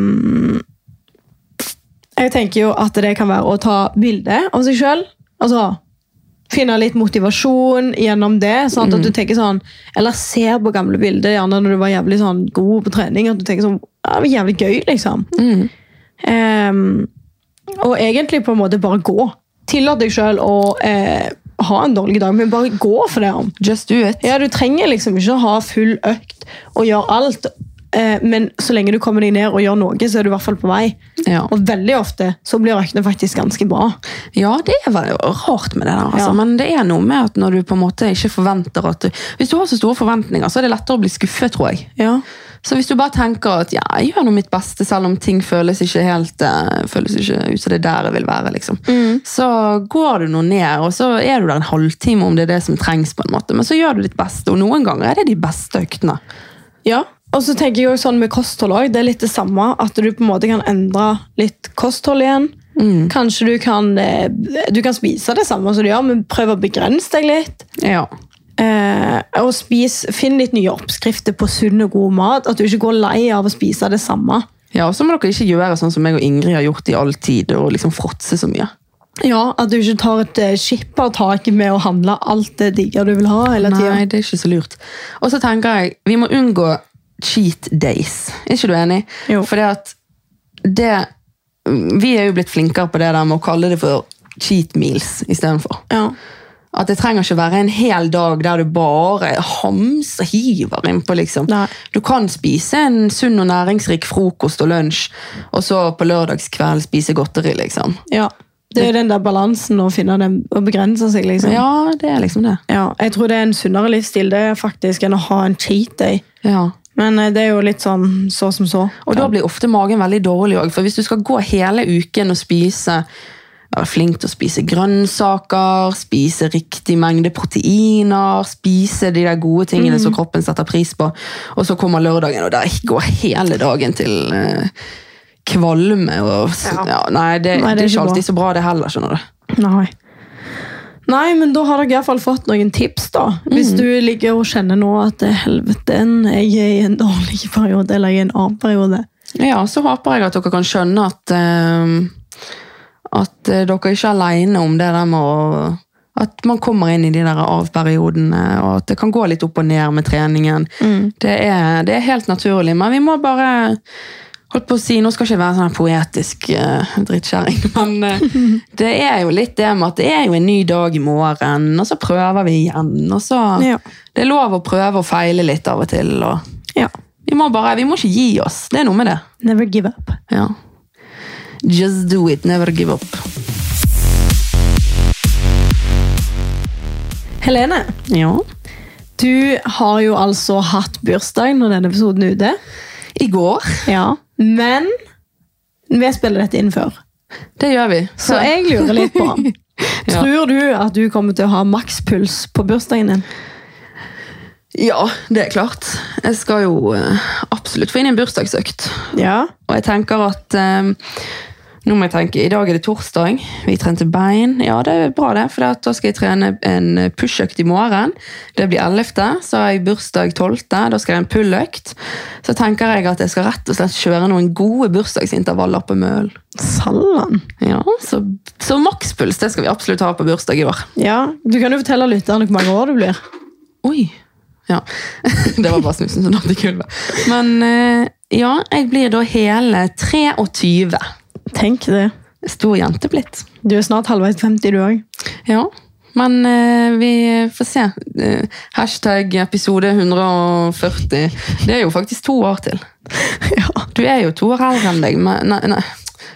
Jeg tenker jo at det kan være å ta bilde av seg sjøl. Altså finne litt motivasjon gjennom det. sant? At du tenker sånn, Eller ser på gamle bilder, gjerne når du var jævlig sånn god på trening. At du tenker sånn ja, det var Jævlig gøy, liksom. Ehm, og egentlig på en måte bare gå. Tillat deg sjøl å eh, ha en dårlig dag, men bare gå for det. om.
Just do it.
Ja, Du trenger liksom ikke å ha full økt og gjøre alt, eh, men så lenge du kommer deg ned og gjør noe, så er du i hvert fall på vei.
Ja.
Og veldig ofte så blir øktene faktisk ganske bra.
Ja, det er vel rart med det der, altså.
Ja.
men det er noe med at når du på en måte ikke forventer at du, Hvis du har så store forventninger, så er det lettere å bli skuffet, tror jeg.
Ja.
Så hvis du bare tenker at ja, jeg gjør nå mitt beste, selv om ting føles ikke helt eh, føles ikke ut som det er der jeg vil være, liksom. så går du nå ned, og så er du der en halvtime om det er det som trengs, på en måte. Men så gjør du ditt beste, og noen ganger er det de beste øktene.
Ja, og så tenker jeg jo sånn med kosthold også, det er litt det samme, at du på en måte kan endre litt kosthold igjen. Kanskje du kan, eh, du kan spise det samme som du gjør, men prøv å begrense deg litt.
Ja.
Eh, og spis, finn litt nye oppskrifter på sunn og god mat, at du ikke går lei av å spise det samme.
ja, og så må dere ikke gjøre sånn som jeg og Ingrid har gjort i all tid, og liksom fråtse så mye.
Ja, at du ikke tar et eh, skippertak med å handle alt det digger du vil ha hele tiden.
Nei, det er ikke så lurt. Og så tenker jeg, vi må unngå cheat days. Er ikke du enig?
Jo.
Fordi at det, vi er jo blitt flinkere på det der med å kalle det for cheat meals i stedet for.
Ja.
At det trenger ikke være en hel dag der du bare hams og hiver innpå, liksom.
Nei.
Du kan spise en sunn og næringsrik frokost og lunsj, og så på lørdagskveld spise godteri, liksom.
ja. Det er den der balansen å finne den, å begrense seg, liksom.
Ja, det er liksom det.
Ja, jeg tror det er en sunnere livsstil det er faktisk enn å ha en cheat day.
Ja.
Men eh, det er jo litt sånn så som så.
Og da blir ofte magen veldig dårlig òg. For hvis du skal gå hele uken og spise være flink til å spise grønnsaker, spise riktig mengde proteiner, spise de der gode tingene som kroppen setter pris på. Og så kommer lørdagen, og der går hele dagen til eh, kvalme. Og, s-
Ja.
ja, nei, det,
Nei,
det er ikke
bra.
alltid så bra det heller, skjønner du.
Nei. Nei, men da har dere i hvert fall fått noen tips, da.
Mhm.
Hvis du ligger og kjenner nå at eh, helveten, jeg er i en dårlig periode, eller jeg er i en annen periode.
Ja, så håper jeg at dere kan skjønne at eh, at eh, dere ikke er alene om det der med å at man kommer inn i de der avperiodene, og at det kan gå litt opp og ned med treningen. Det, er, det er helt naturlig, men vi må bare holdt på å si, Nå skal jeg ikke være sånn her poetisk uh, drittkjerring, men eh, det er jo litt det med at det er jo en ny dag i morgen, og så prøver vi igjen. og så...
Ja.
Det er lov å prøve og feile litt av og til. og
ja.
Vi må bare, vi må ikke gi oss. Det er noe med det.
Never give up.
Ja. Just do it, never give up.
Helene,
Ja.
du har jo altså hatt bursdag når denne episoden er ute.
I går.
Ja. Men vi spiller dette inn før.
Det gjør vi.
Så jeg lurer litt på
Ja.
Tror du at du kommer til å ha makspuls på bursdagen din?
Ja, det er klart. Jeg skal jo eh, absolutt få inn en bursdagsøkt.
Ja.
Og jeg tenker at eh, Nå må jeg tenke, i dag er det torsdag. Vi trente bein. Ja, det er bra, det. For at da skal jeg trene en pushøkt i morgen. Det blir 11., så har jeg bursdag 12. Da skal jeg ha en pulløkt. Så tenker jeg at jeg skal rett og slett kjøre noen gode bursdagsintervaller på Møl.
Sallan.
Ja, så, så makspuls, det skal vi absolutt ha på bursdag i år.
Ja. Du kan jo fortelle lytterne hvor mange år du blir.
Oi! Ja. Det var bare snusen som datt i gulvet. Men eh, ja, jeg blir da hele 23.
Tenk det.
Stor jente blitt.
Du er snart halvveis 50, du òg.
Ja. Men eh, vi får se. Eh, hashtag episode 140. Det er jo faktisk to år til.
Ja.
Du er jo to år eldre enn deg, men Nei. nei.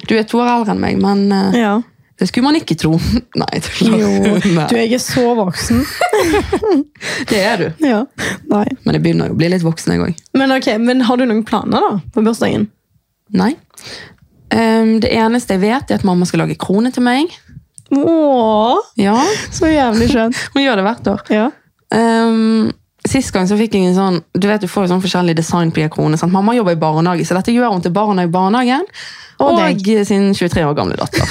Du er to år eldre enn meg, men eh,
ja.
det skulle man ikke tro. Nei, tuller.
Jo. Du,
Nei,
jeg er så voksen.
det er du.
Ja. Nei.
Men jeg begynner jo å bli litt voksen, jeg òg.
Men ok, men har du noen planer da på bursdagen?
Nei. Ehm, det eneste jeg vet, er at mamma skal lage krone til meg.
Åh,
Ja,
så jævlig skjønt.
Hun gjør det hvert år.
Ja.
Ehm, sist gang så fikk jeg en sånn Du vet du får jo sånn forskjellig design på de her kronene. sant? Mamma jobber i barnehage, så dette gjør hun til barna i barnehagen.
Og
Og,
deg.
sin 23 år gamle datter.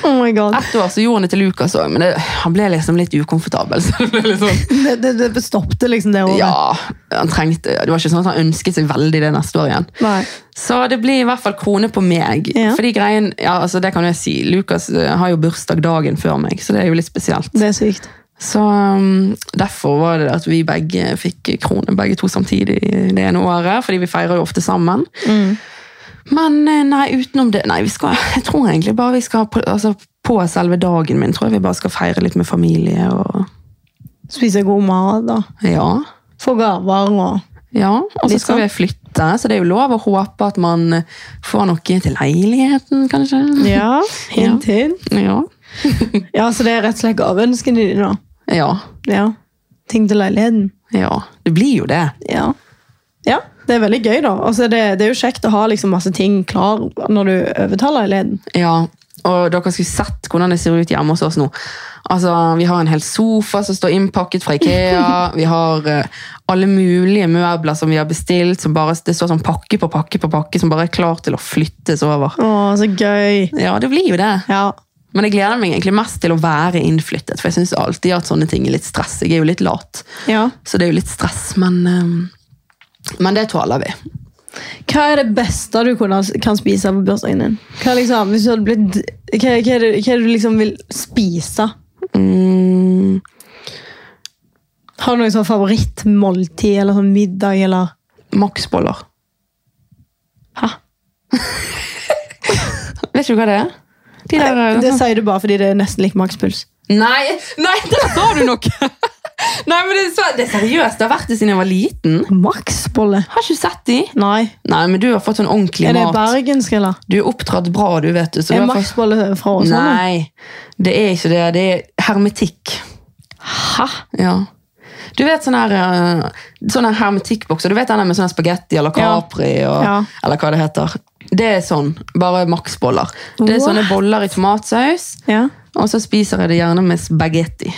Oh my god.
Ett år så gjorde hun det til Lukas òg, men det, han ble liksom litt ukomfortabel. så det ble litt sånn...
Det, det, det stoppte liksom det året.
Ja, han trengte, Det var ikke sånn at han ønsket seg veldig det neste år igjen.
Nei.
Så det blir i hvert fall krone på meg.
Ja.
Fordi greien, ja, altså det kan jeg si, Lukas eh, har jo bursdag dagen før meg, så det er jo litt spesielt.
Det er sykt.
Så um, derfor var det at vi begge fikk krone, begge to samtidig det ene året, fordi vi feirer jo ofte sammen.
Mm.
Men eh, nei, utenom det, nei, vi skal, jeg tror egentlig bare vi skal på, altså, på selve dagen min, tror jeg vi bare skal feire litt med familie og,
Spise god mat da.
ja.
Få gaver og...
Ja, og så
Litt
skal
sånn.
vi flytte, så det er jo lov å håpe at man får noe til leiligheten, kanskje.
Ja,
hint,
hint.
Ja.
Ja, så det er rett og slett gaveønskene dine da.
Ja.
Ja. Ting til leiligheten.
ja. Det blir jo det.
Ja. Ja, det er veldig gøy da. Altså, det, det er jo kjekt å ha liksom masse ting klar når du overtar leiligheten.
Ja. Og dere skulle sett hvordan det ser ut hjemme hos oss nå. Altså, Vi har en hel sofa som står innpakket fra Ikea. Vi har eh, alle mulige møbler som vi har bestilt. som bare, Det står sånn pakke på pakke på pakke som bare er klar til å flyttes over.
Åh, så gøy.
Ja, det blir jo det.
Ja.
Men jeg gleder meg egentlig mest til å være innflyttet. For jeg syns alltid at sånne ting er litt stress. Jeg er jo litt lat.
Ja.
Så det er jo litt stress, men, eh, men det tåler vi.
Hva er det beste du kunne, kan spise på bursdagen din? Hva, er liksom, hvis du hadde blitt, hva, hva, er det, hva er det du liksom vil spise?
Mm,
Har du noen sånn favorittmåltid eller sånn middag? Eller?
Maksboller.
Hæ?
Vet ikke du hva det er? De der, eh,
Det sier du bare fordi det er nesten lik makspuls.
Nei, nei, der sa du noe! nei, men det er, så, det er seriøst. Det har vært det siden jeg var liten.
Maksbolle?
Har ikke sett de.
Nei.
Nei, men du har fått sånn ordentlig
Er det
mat.
bergensk, eller?
Du er oppdratt bra, du, vet du. Så
Er sånn?
du har fått...
maksbolle fra Åsane?
Nei, det er ikke det. Det er hermetikk.
Hæ?
Ja. Du vet sånn sånne, sånn her, eh, sånne hermetikkbokser. Du vet den der med sånne spagetti eller
Ja.
capri og,
Ja.
eller hva det heter. Det er sånn. Bare maksboller. Det er sånne
What?
boller i tomatsaus,
Ja.
og så spiser jeg det gjerne med spagetti.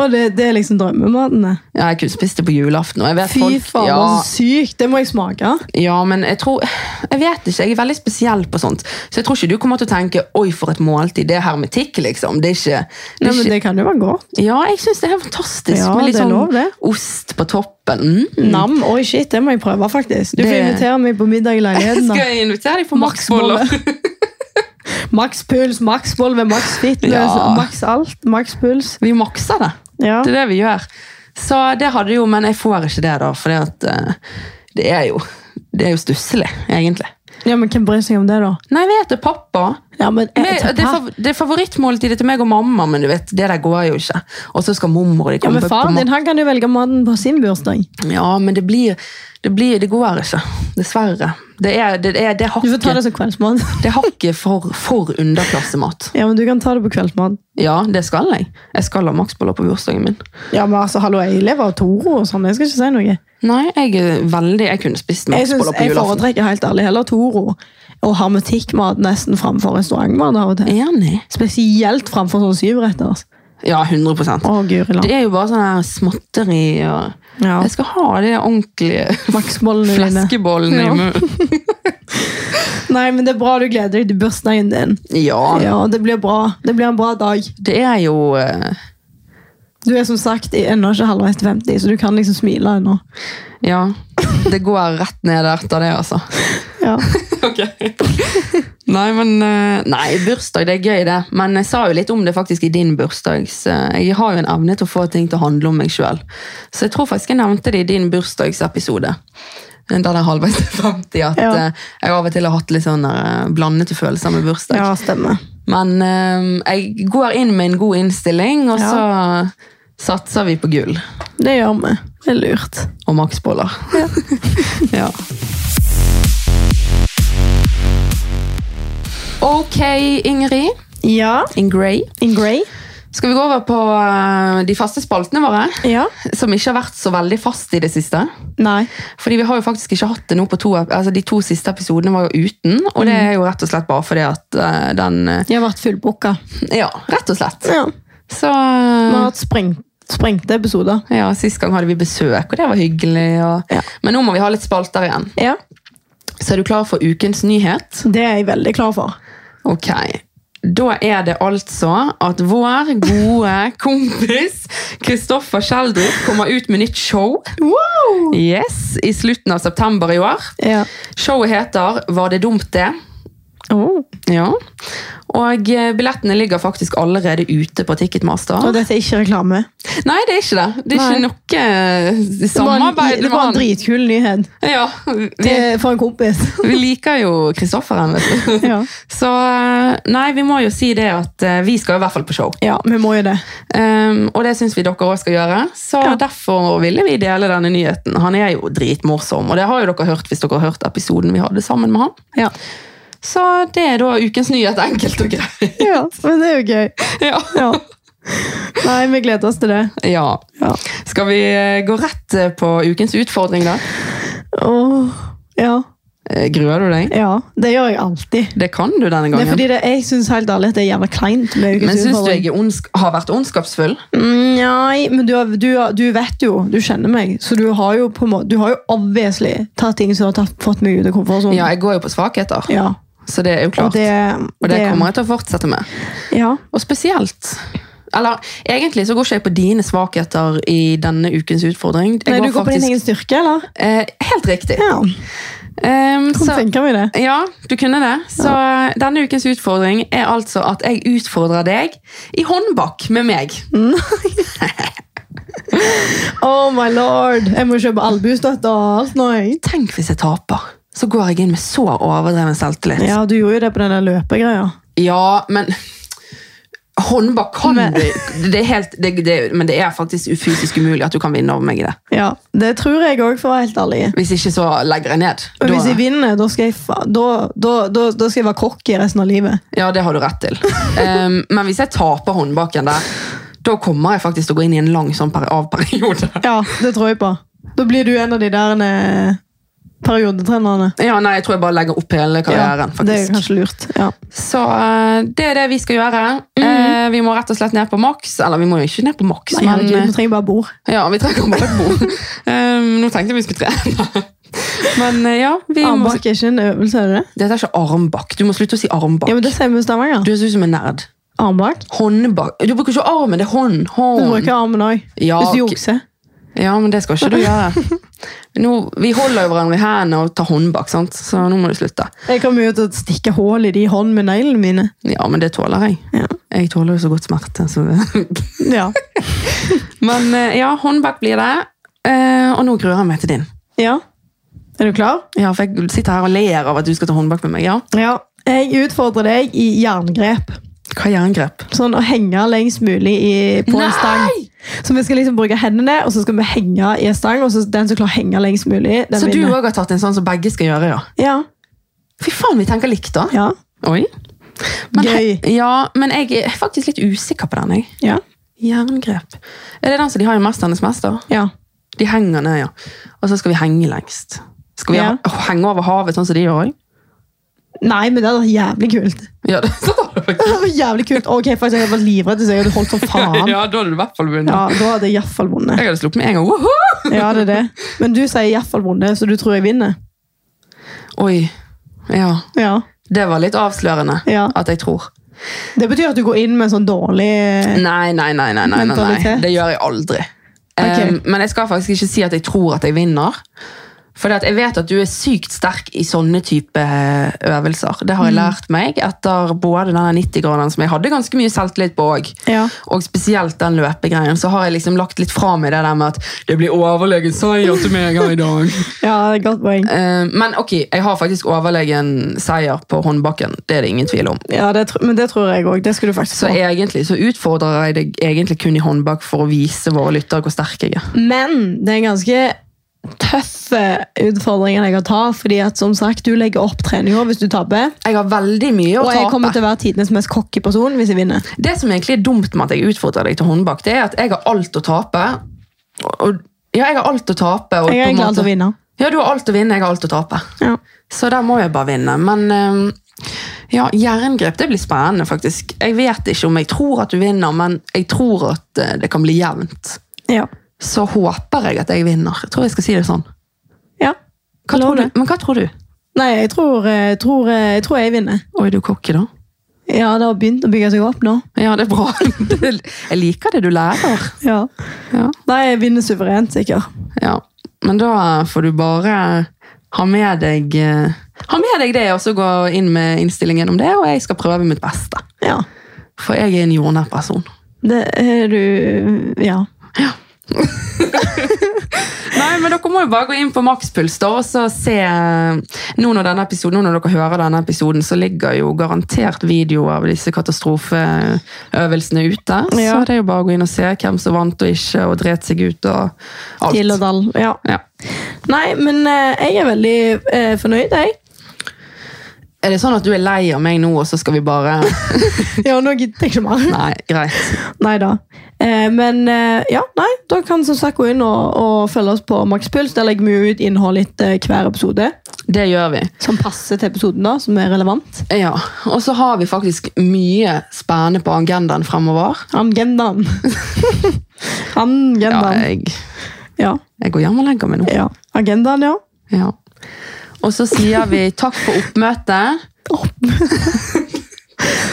Og det, det er liksom drømmematen, det.
Ja, jeg kunne spist det på julaften. Og jeg vet
Fy
folk,
faen, altså.
ja,
så sykt! Det må jeg smake.
ja, men jeg tror Jeg vet ikke. Jeg er veldig spesiell på sånt. Så jeg tror ikke du kommer til å tenke 'oi, for et måltid'. Det er hermetikk, liksom. Det er ikke, det
Nei,
er
men
ikke
det kan jo være godt.
Ja, jeg syns det er fantastisk.
Ja,
med litt
det er
sånn
lov, det.
ost på toppen. Mm.
Nam, oi shit, det må jeg prøve, faktisk. Du
Det-
får invitere meg på middag i leiligheten. da.
Skal jeg invitere deg på
Maksboller.
maksboller?
Maks puls, maks bolve, maks fitness,
Ja.
maks alt, maks puls.
Vi makser det.
Ja.
Det er det vi gjør. Så det hadde jo, men jeg får ikke det, da. For det er jo Det er jo stusslig, egentlig.
ja, men hvem bryr seg om det, da?
Nei, jeg vet det, pappa.
Ja, men eh,
Med, det, er fav- det er favorittmåltidet til meg og mamma, men du vet, det der går jo ikke. Og så skal mormor og de
Ja,
komme
men Faren din han kan jo velge maten på sin bursdag.
mat. Ja, men det blir Det, blir, det går ikke. Dessverre. Det er, det er, det er
Du får ta det
hakket,
som kveldsmat.
det er hakket for, for underklassemat.
Ja, men Du kan ta det på kveldsmat.
Ja, det skal jeg. Jeg skal ha maksboller på bursdagen min.
Ja, men altså, hallo, Jeg lever av Toro og sånn. Jeg skal ikke si noe.
Nei, jeg er veldig Jeg kunne spist
Jeg, synes,
maksboller på
jeg
julaften.
foretrekker helt ærlig heller Toro og hermetikkmat nesten framfor restaurantmat. av og til.
Enig.
Spesielt framfor sånn syvretters.
Ja, 100
Å, guri land.
Det er jo bare sånn her småtteri og
Ja.
Jeg skal ha de ordentlige
Maksbollene dine.
fleskebollene
Ja.
i munnen.
Nei, men det er bra du gleder deg til bursdagen din.
Ja,
Ja, det blir bra. Det blir en bra dag.
det er jo eh,
Du er som sagt i- ennå ikke halvveis til 50, så du kan liksom smile ennå.
Ja. Det går rett ned etter det, altså.
Ja.
Ok. Nei, men eh, Nei, bursdag, det er gøy, det. Men jeg sa jo litt om det faktisk i din bursdag. Så jeg har jo en evne til å få ting til å handle om meg sjøl. Så jeg tror faktisk jeg nevnte det i din bursdagsepisode. Den der halvveis til 50, at
Ja.
eh, jeg av og til har hatt litt sånn eh, blandede følelser med bursdag.
ja, stemmer.
Men eh, jeg går inn med en god innstilling, og
Ja.
så satser vi på gull
Det gjør vi. Det er lurt.
og maksboller. Ja. Ok, Ingrid.
Ja.
Ingrid.
In grey.
Skal vi gå over på eh, de faste spaltene våre?
Ja.
Som ikke har vært så veldig fast i det siste.
Nei.
Fordi vi har jo faktisk ikke hatt det nå på to ep- altså De to siste episodene var jo uten, og det er jo rett og slett bare fordi at eh, den eh,
Jeg har vært fullbooka.
Ja, rett og slett.
Ja.
Så
Vi har
eh,
hatt sprengt, sprengte episoder.
ja, Sist gang hadde vi besøk, og det var hyggelig. Og,
Ja.
Men nå må vi ha litt spalter igjen.
Ja.
Så er du klar for ukens nyhet?
Det er jeg veldig klar for.
Ok, da er det altså at vår gode kompis Kristoffer Kjeldrup kommer ut med nytt show
Wow!
Yes, i slutten av september i år.
Ja.
Showet heter Var det dumt det?
Oh.
Ja. Og eh, billettene ligger faktisk allerede ute på Ticketmaster.
Og dette er ikke reklame.
Nei, det er ikke det. Det er
Nei.
ikke noe eh,
Det var en,
samarbeid
det var en dritkul nyhet
Ja, vi,
til, for en kompis.
vi liker jo Kristofferen, vet du.
Ja.
Så eh, nei, vi må jo si det at eh, vi skal i hvert fall på show.
ja, vi må jo det.
Um, og det syns vi dere òg skal gjøre, så
Ja.
derfor ville vi dele denne nyheten. Han er jo dritmorsom, og det har jo dere hørt hvis dere har hørt episoden vi hadde sammen med han.
Ja.
Så det er da ukens nyhet, enkelt og greit.
ja, Men det er jo gøy.
ja.
Ja. Nei, vi gleder oss til det.
ja.
Ja.
Skal vi eh, gå rett eh, på ukens utfordring, da?
Åh, ja.
Eh, Gruer du deg?
ja, det gjør jeg alltid.
Det kan du denne
Det er
gangen.
fordi det, jeg syns helt ærlig at det er jævla kleint. med ukens
Men syns du
utfordring.
jeg er ondsk har vært ondskapsfull?
Mm, Nei, men du, har- du, har- du vet jo, du kjenner meg, så du har jo på en måte, du har jo obviously tatt ting som har tatt, fått meg ut av komfortsonen.
Ja, jeg går jo på svakheter,
Ja,
så det er jo
og
klart.
det,
Og det kommer jeg til å fortsette med.
Ja,
Og spesielt Eller egentlig så går ikke jeg på dine svakheter i denne ukens utfordring. Jeg
Nei, du går på din
faktisk-
egen styrke, eller?
eh, Helt riktig.
Ja,
Ehm,
så
så,
tenker vi det.
ja, du kunne det. Så eh, denne ukens utfordring er altså at jeg utfordrer deg i håndbak med meg.
Mm. Oh my lord, jeg må kjøpe albuestøtte og alt nå, jeg.
Tenk hvis jeg taper. Så går jeg inn med så overdreven selvtillit. Ja,
Ja, du gjorde jo det på den der løpegreia.
men Håndbak kan
Men-
du det er helt, det, det, Men det er faktisk fysisk umulig at du kan vinne over meg i det.
Ja, det tror jeg også, for å være helt ærlig.
Hvis ikke, så legger jeg ned.
Og hvis
Da-
jeg vinner, da skal jeg, fa- da, da, da, da skal jeg være kokk i resten av livet.
Ja, det har du rett til. Ehm, men hvis jeg taper håndbaken der, da kommer jeg faktisk til å gå inn i en lang sånn per avperiode.
Ja, det tror jeg på. Da blir du en av de der eh, Periodetrenerne.
Ja, nei, jeg tror jeg bare legger opp hele karrieren,
det er
faktisk.
kanskje lurt. Ja.
Så eh, det er det vi skal gjøre. Eh, vi må rett og slett ned på maks. Eller vi må jo ikke ned på maks,
Nei,
men
herregud,
eh,
vi trenger bare bord.
ja, vi trenger bare et bord. Ehm, nå tenkte jeg vi skulle trene. men eh, ja, vi må
Armbakk er ikke en øvelse, er det det?
Dette er ikke armbakk. Du må slutte å si armbakk.
Ja, men det sier vi i Stavanger.
Du ser ut som en nerd.
Armbakk.
Håndbakk. Du bruker ikke armen, det er hånd.
Du
hånd.
bruker armen òg.
Ja,
Hvis
ok.
du jukser.
Ja, men det skal ikke du gjøre. Nå, vi holder jo hverandre i hendene og tar håndbakk, sant? så nå må du slutte.
Jeg kommer jo til å stikke hull i de hånd med neglene mine.
Ja, men det tåler jeg.
Ja.
Jeg tåler jo så godt smerte. Så.
Ja.
Men eh, ja, håndbakk blir det. Eh, og nå gruer jeg meg til din.
ja. Er du klar?
Ja, for jeg sitter her og ler av at du skal ta håndbakk med meg. Ja.
Ja. Jeg utfordrer deg i jerngrep.
Hva er jerngrep?
Sånn å henge lengst mulig i, på
Nei!
en stang. Så vi skal liksom bruke hendene, og så skal vi henge i en stang. Og så den som klarer å henge lengst mulig, den
Så du
vinner.
òg har tatt en sånn som begge skal gjøre, ja?
Ja.
Fy faen, vi tenker likt, da.
Ja.
Oi. Men,
Gøy.
he- Ja, men jeg er faktisk litt usikker på den. jeg.
Ja.
Jerngrep. Er det den som de har i 'Mesternes mester'?
ja.
De henger ned, ja. Og så skal vi henge lengst. Skal vi
Ja.
ha- henge over havet, sånn som de gjør òg?
Nei, men det hadde vært jævlig kult.
Ja, det- så tar du faktisk-
Det hadde vært jævlig kult. Ok, faktisk, Jeg hadde vært livredd hvis jeg hadde holdt for faen.
Ja, da hadde du i hvert fall vunnet.
Ja, Da hadde jeg iallfall vunnet.
Jeg hadde sluppet med en gang. Woohoo!
Ja, det er det. Men du sier iallfall vunnet, så du tror jeg vinner?
Oi. Ja.
Ja.
Det var litt avslørende
Ja.
at jeg tror.
Det betyr at du går inn med en sånn dårlig
Nei, nei, nei. nei, nei, nei, nei.
Mentalitet.
Det gjør jeg aldri.
Ok.
Em, men jeg skal faktisk ikke si at jeg tror at jeg vinner. For jeg vet at du er sykt sterk i sånne type eh, øvelser. Det har
Mm.
jeg lært meg etter både denne 90-graderen som jeg hadde ganske mye selvtillit på òg.
Ja.
Og spesielt den løpegreien. Så har jeg liksom lagt litt fra meg det der med at det blir overlegen seier til meg her i dag.
Ja, det er et godt poeng.
Eh, men ok, jeg har faktisk overlegen seier på håndbakken. Det er det ingen tvil om.
Ja, det, tr- men det tror jeg òg. Det skal du faktisk
Så
få.
egentlig så utfordrer jeg deg egentlig kun i håndbak for å vise våre lyttere hvor sterk jeg er.
Men det er en ganske tøffe utfordringer jeg kan ta. fordi at som sagt, du legger opp treninga hvis du taper.
Jeg har veldig mye å
Og jeg kommer
tape.
til å være tidenes mest cocky person hvis jeg vinner.
Det som egentlig er dumt med at jeg utfordrer deg til håndbak, det er at jeg har alt å tape. Og, og, ja, jeg har alt å tape. Og
Jeg
på
er
en
glad
måte-
til å vinne.
Ja, du har alt å vinne, jeg har alt å tape.
Ja.
Så der må jeg bare vinne. Men ehm, ja, jerngrep det blir spennende, faktisk. Jeg vet ikke om jeg tror at du vinner, men jeg tror at eh, det kan bli jevnt.
Ja.
Så håper jeg at jeg vinner. Jeg tror jeg skal si det sånn.
ja.
Hva
Lov
tror du?
det.
Men hva tror du?
Nei, jeg tror, eh, tror, eh, jeg tror jeg vinner.
Oi, du er cocky, da.
Ja, det har begynt å bygge seg opp nå.
Ja, det er bra. Jeg liker det du lærer.
Ja.
Ja.
Nei, jeg vinner suverent, sikkert.
ja. Men da får du bare ha med deg eh, Ha med deg det, og så gå inn med innstillingen om det, og jeg skal prøve mitt beste.
Ja.
For jeg er en jordnær person.
Det er du Ja.
Nei, men dere må jo bare gå inn på makspuls da, og så se eh, nå når, denne episoden, nå når dere hører denne episoden, så ligger jo garantert video av disse katastrofeøvelsene ute. Så
Ja.
det er jo bare å gå inn og se hvem som vant og ikke, og dret seg ut og
Til og
alt.
dall. Ja.
Ja.
Nei, men eh, jeg er veldig eh, fornøyd, jeg.
Er det sånn at du er lei av meg nå, og så skal vi bare...
Ja, nå gidder jeg ikke mer.
Nei, greit.
Nei da. Eh, men eh, ja, nei, da kan som sagt gå inn og, og følge oss på Makspuls. Der legger vi jo ut innhold etter hver episode
Det gjør vi.
som passer til episoden, da, som er relevant.
Ja, og så har vi faktisk mye spennende på agendaen fremover.
Agendaen.
Ja,
Agendaen.
jeg,
Ja,
jeg går hjem og legger meg nå.
ja. Agendaen, ja.
Ja. Og så sier vi takk for oppmøtet.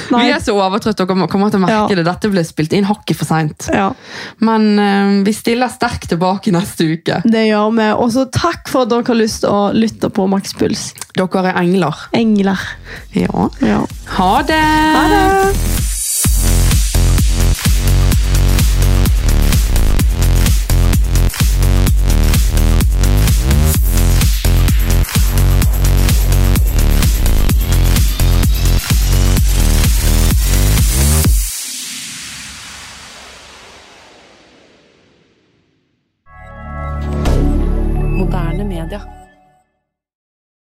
Nei.
Vi er så overtrøtt, dere må- kommer til å merke
Ja.
det. Dette ble spilt inn hakket for seint.
Ja,
Men eh, vi stiller sterkt tilbake neste uke.
det gjør vi. Og så takk for at dere har lyst til å lytte på Makspuls.
Dere er engler.
Engler.
Ja.
Ja.
Ha det!
Ha det!
Moderne media.